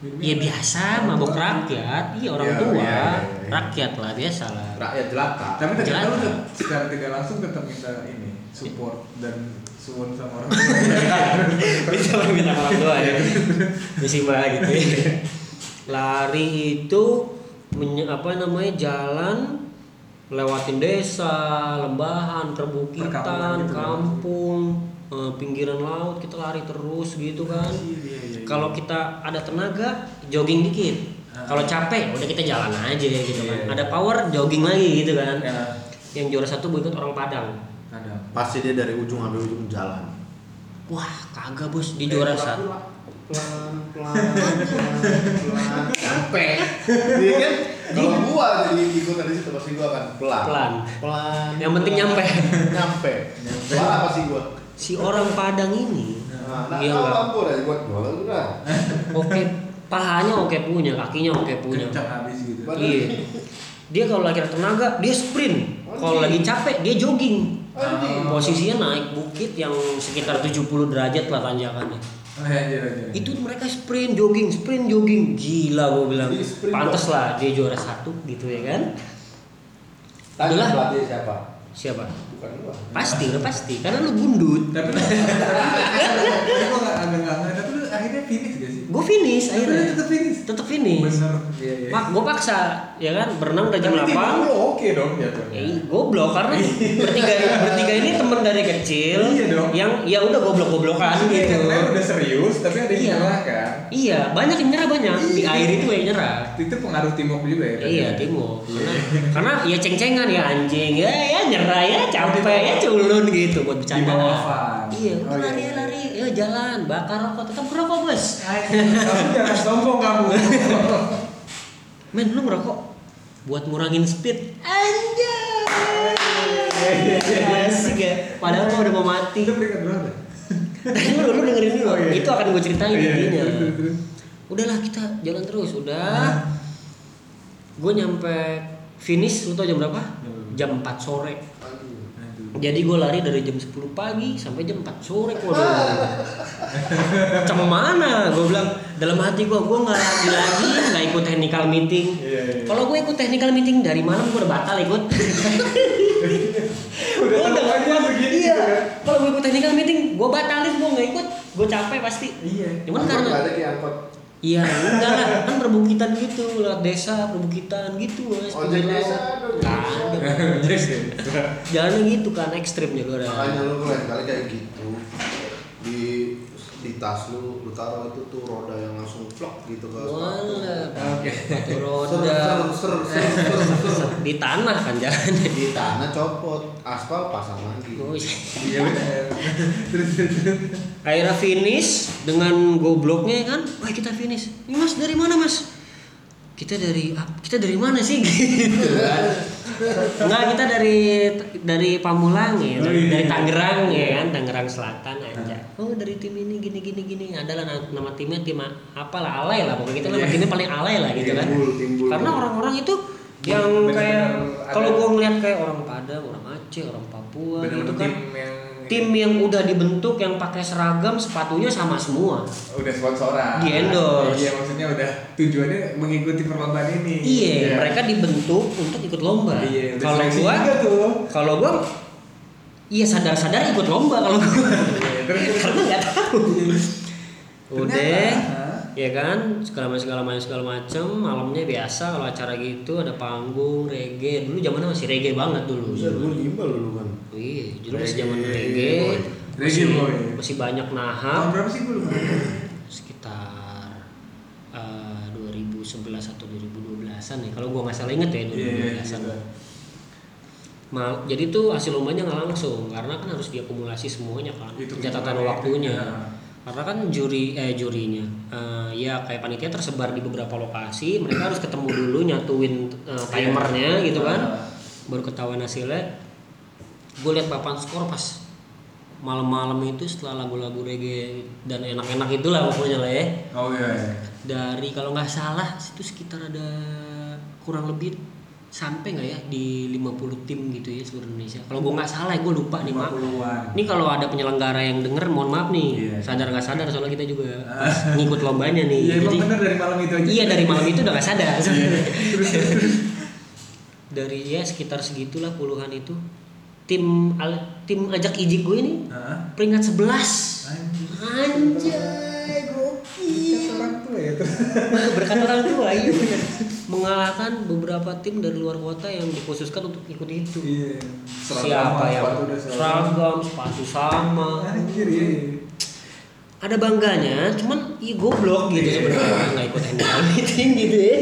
[SPEAKER 4] Minumnya
[SPEAKER 1] ya
[SPEAKER 4] apa?
[SPEAKER 1] biasa mabok rakyat iya orang
[SPEAKER 2] Iya,
[SPEAKER 1] tua
[SPEAKER 2] iya, iya, iya.
[SPEAKER 1] rakyat lah biasa lah
[SPEAKER 2] rakyat jelata
[SPEAKER 4] Tapi ternyata
[SPEAKER 1] Jelas.
[SPEAKER 4] lu tuh secara tidak langsung tetap minta ini support dan suwon sama orang tua.
[SPEAKER 1] bisa minta orang tua ya misi banget gitu ya. lari itu menye- apa namanya jalan lewatin desa lembahan
[SPEAKER 4] Perkampungan
[SPEAKER 1] perbukitan
[SPEAKER 4] gitu kan.
[SPEAKER 1] kampung eh, pinggiran laut kita lari terus gitu kan
[SPEAKER 4] Iya,
[SPEAKER 1] kalau kita ada tenaga jogging dikit
[SPEAKER 4] Ah.
[SPEAKER 1] kalau capek udah kita jalan aja gitu
[SPEAKER 4] Iya, iya.
[SPEAKER 1] kan ada power jogging lagi gitu kan
[SPEAKER 4] Ya,
[SPEAKER 1] yang juara satu gue ikut orang Padang
[SPEAKER 4] kadang.
[SPEAKER 2] pasti dia dari ujung sampai ujung jalan
[SPEAKER 1] Eh,
[SPEAKER 4] Iya,
[SPEAKER 1] wah kagak bos di juara satu
[SPEAKER 2] pelan pelan pelan pelan capek iya kan kalau gua jadi ikut tadi situ pasti gua akan pelan
[SPEAKER 1] Pelan.
[SPEAKER 2] pelan
[SPEAKER 1] Yang penting nyampe.
[SPEAKER 2] nyampe parah pasti gua
[SPEAKER 1] si orang Padang ini
[SPEAKER 2] nah, nah
[SPEAKER 1] Iya,
[SPEAKER 2] kau
[SPEAKER 1] Bang.
[SPEAKER 2] mampu dah gua jualan udah
[SPEAKER 1] oke pahanya oke punya kakinya oke punya
[SPEAKER 4] kencang habis gitu
[SPEAKER 2] Badan-
[SPEAKER 1] iya dia kalau lagi ada tenaga dia sprint kalau lagi capek dia jogging
[SPEAKER 4] Ah, Oh,
[SPEAKER 2] Anjing.
[SPEAKER 1] posisinya naik bukit yang sekitar 70 derajat lah tanjakannya
[SPEAKER 4] oh, ya, anjir anjir
[SPEAKER 1] itu mereka sprint jogging sprint jogging gila gue bilang
[SPEAKER 4] Iya,
[SPEAKER 2] Jadi sprint
[SPEAKER 1] pantas lah dia juara satu gitu ya kan
[SPEAKER 2] tanya
[SPEAKER 1] Udah lah.
[SPEAKER 2] pelatih siapa
[SPEAKER 1] siapa
[SPEAKER 2] bukan gua
[SPEAKER 1] pasti udah pasti karena lu gundut
[SPEAKER 4] tapi lu tapi gua nggak agak nggak ngerti tapi lu akhirnya finish gak sih
[SPEAKER 1] gue finish
[SPEAKER 4] tapi lu
[SPEAKER 1] akhirnya
[SPEAKER 4] tetap finish
[SPEAKER 1] tetap finish
[SPEAKER 4] bener iya iya
[SPEAKER 1] mak gue paksa ya kan berenang udah jam
[SPEAKER 4] Tapi tim
[SPEAKER 1] 8
[SPEAKER 4] lu oke dong jatuhnya
[SPEAKER 1] Eh, goblok karena bertiga bertiga ini temen dari kecil
[SPEAKER 4] Iya dong.
[SPEAKER 1] yang ya udah goblok goblokan
[SPEAKER 4] Iya,
[SPEAKER 1] gitu
[SPEAKER 4] yang lain udah serius tapi ada
[SPEAKER 1] Iya.
[SPEAKER 4] yang nyerah kan
[SPEAKER 1] iya banyak yang nyerah banyak di
[SPEAKER 4] Iya.
[SPEAKER 1] air itu yang nyerah
[SPEAKER 4] itu pengaruh timok juga ya kan?
[SPEAKER 1] iya timo karena karena ya ceng-cengan ya anjing ya ya nyerah ya capek ya culun gitu buat bercanda
[SPEAKER 4] bawah fan.
[SPEAKER 1] iya udah
[SPEAKER 4] Oh, iya,
[SPEAKER 1] lari
[SPEAKER 4] iya.
[SPEAKER 1] lari ya jalan bakar rokok tetap berokok bos
[SPEAKER 4] kamu jangan sombong kamu
[SPEAKER 1] men lu ngerokok buat ngurangin speed
[SPEAKER 4] Iya,
[SPEAKER 1] anjay asik ya padahal mah udah mau mati
[SPEAKER 4] itu peringkat berapa
[SPEAKER 1] Tadi lu lu dengerin dulu. Itu akan gue ceritain
[SPEAKER 4] Oh, Iya, iya,
[SPEAKER 1] intinya.
[SPEAKER 4] terus, terus.
[SPEAKER 1] Udahlah kita jalan terus,
[SPEAKER 4] Ah.
[SPEAKER 1] udah. Gue nyampe finish lu tau jam berapa? Jam 4 sore.
[SPEAKER 2] Aduh.
[SPEAKER 4] Aduh.
[SPEAKER 1] Jadi gue lari dari jam 10 pagi sampai jam 4 sore Waduh Cemana gue bilang Dalam hati gue, gue gak lagi lagi gak ikut technical meeting
[SPEAKER 4] Iya, iya.
[SPEAKER 1] Kalau gue ikut technical meeting dari malam gue udah batal ikut
[SPEAKER 4] udah
[SPEAKER 1] Gua
[SPEAKER 4] udah aja
[SPEAKER 1] Iya
[SPEAKER 4] begini gitu kan?
[SPEAKER 1] Kalau gue ikut technical meeting gue batalin gue gak ikut Gue capek pasti
[SPEAKER 4] iya
[SPEAKER 1] Cuman
[SPEAKER 2] Angkot
[SPEAKER 1] karena
[SPEAKER 2] nggak ada kayak angkot
[SPEAKER 1] Iya, enggak lah. Kan perbukitan gitu, lewat desa, perbukitan gitu. Mas. Pinggir
[SPEAKER 2] ojek Oh, desa
[SPEAKER 1] laut.
[SPEAKER 2] aduh
[SPEAKER 1] Nggak ada.
[SPEAKER 4] Yes,
[SPEAKER 1] Iya, Jalannya gitu kan, ekstrimnya lu
[SPEAKER 2] makanya
[SPEAKER 1] ada.
[SPEAKER 2] lu lain kali kayak gitu di di tas lu lu taruh itu tuh roda yang langsung vlog gitu ke sepatu.
[SPEAKER 1] Walah,
[SPEAKER 4] Oke.
[SPEAKER 1] batu
[SPEAKER 2] Ser,
[SPEAKER 1] roda.
[SPEAKER 2] ser, ser, ser, ser, ser.
[SPEAKER 1] Di tanah kan jalannya.
[SPEAKER 2] di tanah copot aspal pasang lagi
[SPEAKER 1] Wih.
[SPEAKER 4] Iya benar. Terus terus, terus.
[SPEAKER 1] Akhirnya finish dengan gobloknya ya kan, wah kita finish. Ini mas dari mana mas? Kita dari ap- kita dari mana sih gitu kan? Enggak kita dari dari Pamulang ya,
[SPEAKER 4] Oh,
[SPEAKER 1] dari,
[SPEAKER 4] iya.
[SPEAKER 1] dari Tangerang ya kan, Tangerang Selatan aja. Oh dari tim ini gini gini gini, adalah na- nama timnya tim a- apalah alay lah pokoknya kita nama
[SPEAKER 4] Iya.
[SPEAKER 1] timnya paling alay lah gitu kan.
[SPEAKER 2] timbul timbul
[SPEAKER 1] Karena orang-orang itu yang
[SPEAKER 4] Bener-bener
[SPEAKER 1] kayak
[SPEAKER 4] ada-
[SPEAKER 1] kalau gua ngeliat kayak orang Padang, orang Aceh, orang Papua gitu
[SPEAKER 4] Benar-benar
[SPEAKER 1] kan
[SPEAKER 4] tim yang
[SPEAKER 1] tim yang udah dibentuk yang pakai seragam sepatunya sama semua
[SPEAKER 4] udah sponsoran.
[SPEAKER 1] Di endorse.
[SPEAKER 4] Iya maksudnya udah tujuannya mengikuti perlombaan ini.
[SPEAKER 1] iya mereka dibentuk untuk ikut lomba
[SPEAKER 4] Iya, udah
[SPEAKER 1] kalau
[SPEAKER 4] seleksi
[SPEAKER 1] gua
[SPEAKER 4] juga tuh.
[SPEAKER 1] kalau gua iya sadar-sadar ikut lomba kalau gua
[SPEAKER 4] Iya, terus, terus.
[SPEAKER 1] karena nggak tahu udah
[SPEAKER 4] Ternyata, ah. ha?
[SPEAKER 1] ya kan segala macam segala macam segala macam malamnya biasa kalau acara gitu ada panggung reggae dulu zamannya masih reggae banget dulu
[SPEAKER 2] bisa dulu gimbal dulu kan
[SPEAKER 1] Iya, dulu masih zaman
[SPEAKER 4] Iya, Reggae
[SPEAKER 1] reggae,
[SPEAKER 4] boy.
[SPEAKER 1] masih,
[SPEAKER 4] Reggae boy.
[SPEAKER 1] masih banyak nahap,
[SPEAKER 4] Tahun berapa sih gue lupa.
[SPEAKER 1] sekitar eh, 2011 atau 2012-an ya kalau gua nggak salah inget ya 2012-an
[SPEAKER 4] Iya, iya, gitu.
[SPEAKER 1] Mal- jadi tuh hasil lombanya nggak langsung karena kan harus diakumulasi semuanya kan
[SPEAKER 4] Itu
[SPEAKER 1] catatan
[SPEAKER 4] hitungannya.
[SPEAKER 1] waktunya
[SPEAKER 4] Iya.
[SPEAKER 1] karena kan juri eh jurinya eh, ya kayak panitia tersebar di beberapa lokasi mereka harus ketemu dulu nyatuin eh, timernya gitu kan baru ketahuan hasilnya gue lihat papan skor pas malam-malam itu setelah lagu-lagu reggae dan enak-enak itulah pokoknya lah ya
[SPEAKER 4] Oh iya. iya.
[SPEAKER 1] dari kalau nggak salah itu sekitar ada kurang lebih sampai nggak ya di 50 tim gitu ya seluruh Indonesia kalau gue nggak salah gue lupa nih maaf
[SPEAKER 4] 50-an.
[SPEAKER 1] ini kalau ada penyelenggara yang denger mohon maaf nih
[SPEAKER 4] Iya.
[SPEAKER 1] sadar nggak sadar soalnya kita juga pas ngikut lombanya nih
[SPEAKER 4] Iya emang
[SPEAKER 1] Jadi-
[SPEAKER 4] bener dari malam itu aja.
[SPEAKER 1] iya dari malam itu udah nggak sadar
[SPEAKER 4] Terus terus, terus.
[SPEAKER 1] dari ya sekitar segitulah puluhan itu tim al- tim ajak ijik gue ini
[SPEAKER 4] Hah?
[SPEAKER 1] peringkat 11 anjay
[SPEAKER 4] Iya,
[SPEAKER 1] gokil
[SPEAKER 4] orang tua ya terus.
[SPEAKER 1] berkat orang tua iya bener. mengalahkan beberapa tim dari luar kota yang dikhususkan untuk ikut itu
[SPEAKER 4] Iya.
[SPEAKER 1] siapa ya? yang
[SPEAKER 4] Sepatu udah seragam.
[SPEAKER 1] seragam sepatu sama
[SPEAKER 4] Anjir iya. iya.
[SPEAKER 1] ada bangganya cuman iya goblok gitu sebenarnya nggak ikut handball meeting gitu ya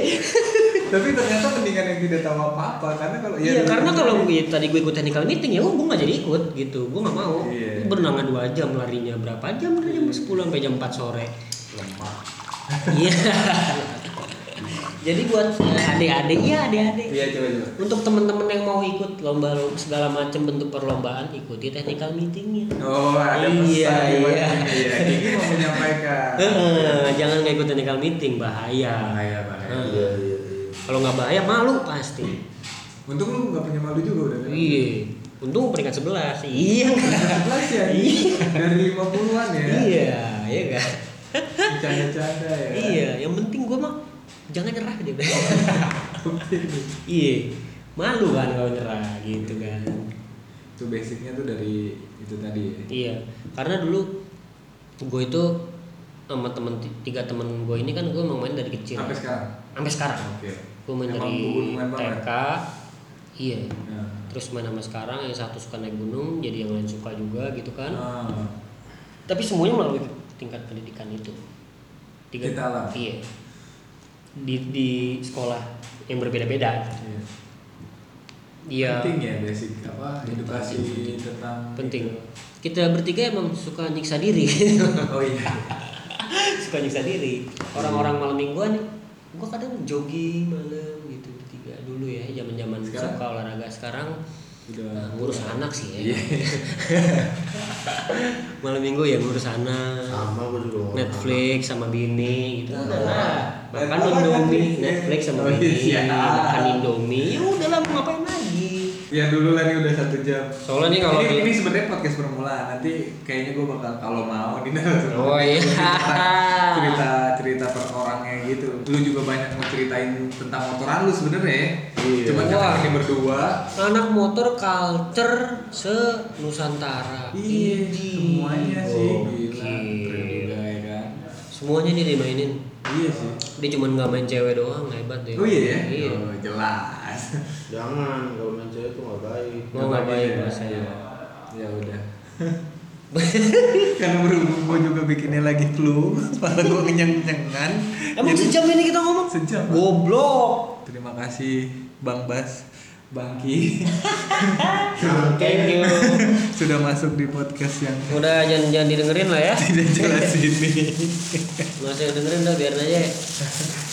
[SPEAKER 4] Tapi ternyata mendingan yang tidak tahu apa-apa karena kalau
[SPEAKER 1] Iya, karena
[SPEAKER 4] dulu-
[SPEAKER 1] kalau gue tadi gue ikut technical meeting ya gue nggak jadi ikut gitu, gue nggak mau.
[SPEAKER 4] Iya.
[SPEAKER 1] Berenangnya dua jam, larinya berapa jam? Dari jam 10 sampai jam 4 sore.
[SPEAKER 2] lemah
[SPEAKER 1] Iya. Jadi buat eh, adik-adik ya adik-adik.
[SPEAKER 3] Iya coba coba.
[SPEAKER 1] Untuk teman-teman yang mau ikut lomba segala macam bentuk perlombaan ikuti technical meetingnya.
[SPEAKER 3] Oh ada pesan
[SPEAKER 1] Iya,
[SPEAKER 3] buat
[SPEAKER 1] iya.
[SPEAKER 3] ini ya. Ini mau menyampaikan.
[SPEAKER 1] Eh, jangan nggak ikut technical meeting bahaya.
[SPEAKER 3] Bahaya bahaya.
[SPEAKER 1] Eh,
[SPEAKER 2] iya iya iya
[SPEAKER 1] Kalau nggak bahaya malu pasti.
[SPEAKER 3] Untung lu nggak punya malu juga udah. kan?
[SPEAKER 1] Iya. Untung peringkat 11. Iya.
[SPEAKER 3] Sebelas ya. Dari lima puluhan ya.
[SPEAKER 1] Iya, iya kan.
[SPEAKER 3] Canda-canda ya.
[SPEAKER 1] Iya, yang penting gua mah jangan nyerah dia. bilang. iya. Malu kan kalau nyerah gitu kan.
[SPEAKER 3] Itu basicnya tuh dari itu tadi ya.
[SPEAKER 1] Iya, karena dulu gue itu sama temen tiga temen gue ini kan gue emang main dari kecil.
[SPEAKER 3] Sampai sekarang.
[SPEAKER 1] Sampai sekarang.
[SPEAKER 3] Oke.
[SPEAKER 1] Gue main
[SPEAKER 3] Emang
[SPEAKER 1] dari
[SPEAKER 3] hubungan banget. ya?
[SPEAKER 1] TK. Iya.
[SPEAKER 3] Nah.
[SPEAKER 1] Terus main sama sekarang yang satu suka naik gunung, jadi yang lain suka juga gitu kan.
[SPEAKER 3] Ah.
[SPEAKER 1] Tapi semuanya melalui tingkat pendidikan itu.
[SPEAKER 3] Kita lah.
[SPEAKER 1] Iya. Di di sekolah yang berbeda-beda.
[SPEAKER 3] Iya.
[SPEAKER 1] Iya.
[SPEAKER 3] Penting ya basic apa edukasi
[SPEAKER 1] Penting.
[SPEAKER 3] tentang
[SPEAKER 1] Penting. Kita bertiga emang suka nyiksa diri.
[SPEAKER 3] Oh iya.
[SPEAKER 1] suka nyiksa diri orang-orang malam mingguan gua kadang jogging malam gitu bertiga dulu ya zaman zaman
[SPEAKER 3] Sekarang?
[SPEAKER 1] suka olahraga sekarang eh,
[SPEAKER 3] Udah
[SPEAKER 1] ngurus anak sih ya
[SPEAKER 3] Iya.
[SPEAKER 1] malam minggu ya ngurus anak
[SPEAKER 2] sama gue juga ngomong
[SPEAKER 1] Netflix sama bini gitu
[SPEAKER 3] Udah
[SPEAKER 1] udahlah
[SPEAKER 3] lah.
[SPEAKER 1] makan
[SPEAKER 3] Netflix,
[SPEAKER 1] Indomie
[SPEAKER 3] Netflix.
[SPEAKER 1] Netflix sama
[SPEAKER 3] Ah, Oh,
[SPEAKER 1] bini
[SPEAKER 3] iya.
[SPEAKER 1] makan Indomie ya udahlah mau ngapain lagi
[SPEAKER 3] Ya dulu lah ini udah satu jam.
[SPEAKER 1] soalnya nih kalau
[SPEAKER 3] Ini, ini sebenarnya podcast bermula. Nanti kayaknya gue bakal kalau mau di narasumber.
[SPEAKER 1] Oh, iya.
[SPEAKER 3] cerita cerita per orangnya gitu. Lu juga banyak mau ceritain tentang motoran lu sebenarnya. ya.
[SPEAKER 2] Iya.
[SPEAKER 3] Cuman
[SPEAKER 1] Wah.
[SPEAKER 3] karena ini berdua.
[SPEAKER 1] anak motor culture se Nusantara
[SPEAKER 3] Iya,
[SPEAKER 1] Idi.
[SPEAKER 3] semuanya sih gila.
[SPEAKER 1] Gokil.
[SPEAKER 3] Keren juga ya kan.
[SPEAKER 1] semuanya dia dimainin
[SPEAKER 3] Iya sih.
[SPEAKER 1] dia cuma nggak main cewek doang hebat deh
[SPEAKER 3] Oh iya ya.
[SPEAKER 1] iya
[SPEAKER 3] Oh, jelas.
[SPEAKER 2] jangan kalau main cewek itu nggak baik
[SPEAKER 1] Nggak Mau ngapain
[SPEAKER 3] Iya,
[SPEAKER 1] rasanya.
[SPEAKER 3] iya. Ya udah. Karena berhubung gue juga bikinnya lagi flu, malah gue kenyang-kenyangan.
[SPEAKER 1] emang
[SPEAKER 3] Jadi-
[SPEAKER 1] sejam ini kita ngomong
[SPEAKER 3] Sejam.
[SPEAKER 1] goblok
[SPEAKER 3] Terima kasih Bang Bas, Bang Ki
[SPEAKER 1] thank you
[SPEAKER 3] sudah masuk di podcast yang
[SPEAKER 1] udah jangan jangan didengerin lah ya
[SPEAKER 3] tidak jelas ini.
[SPEAKER 1] nggak usah dengerin dah biarin aja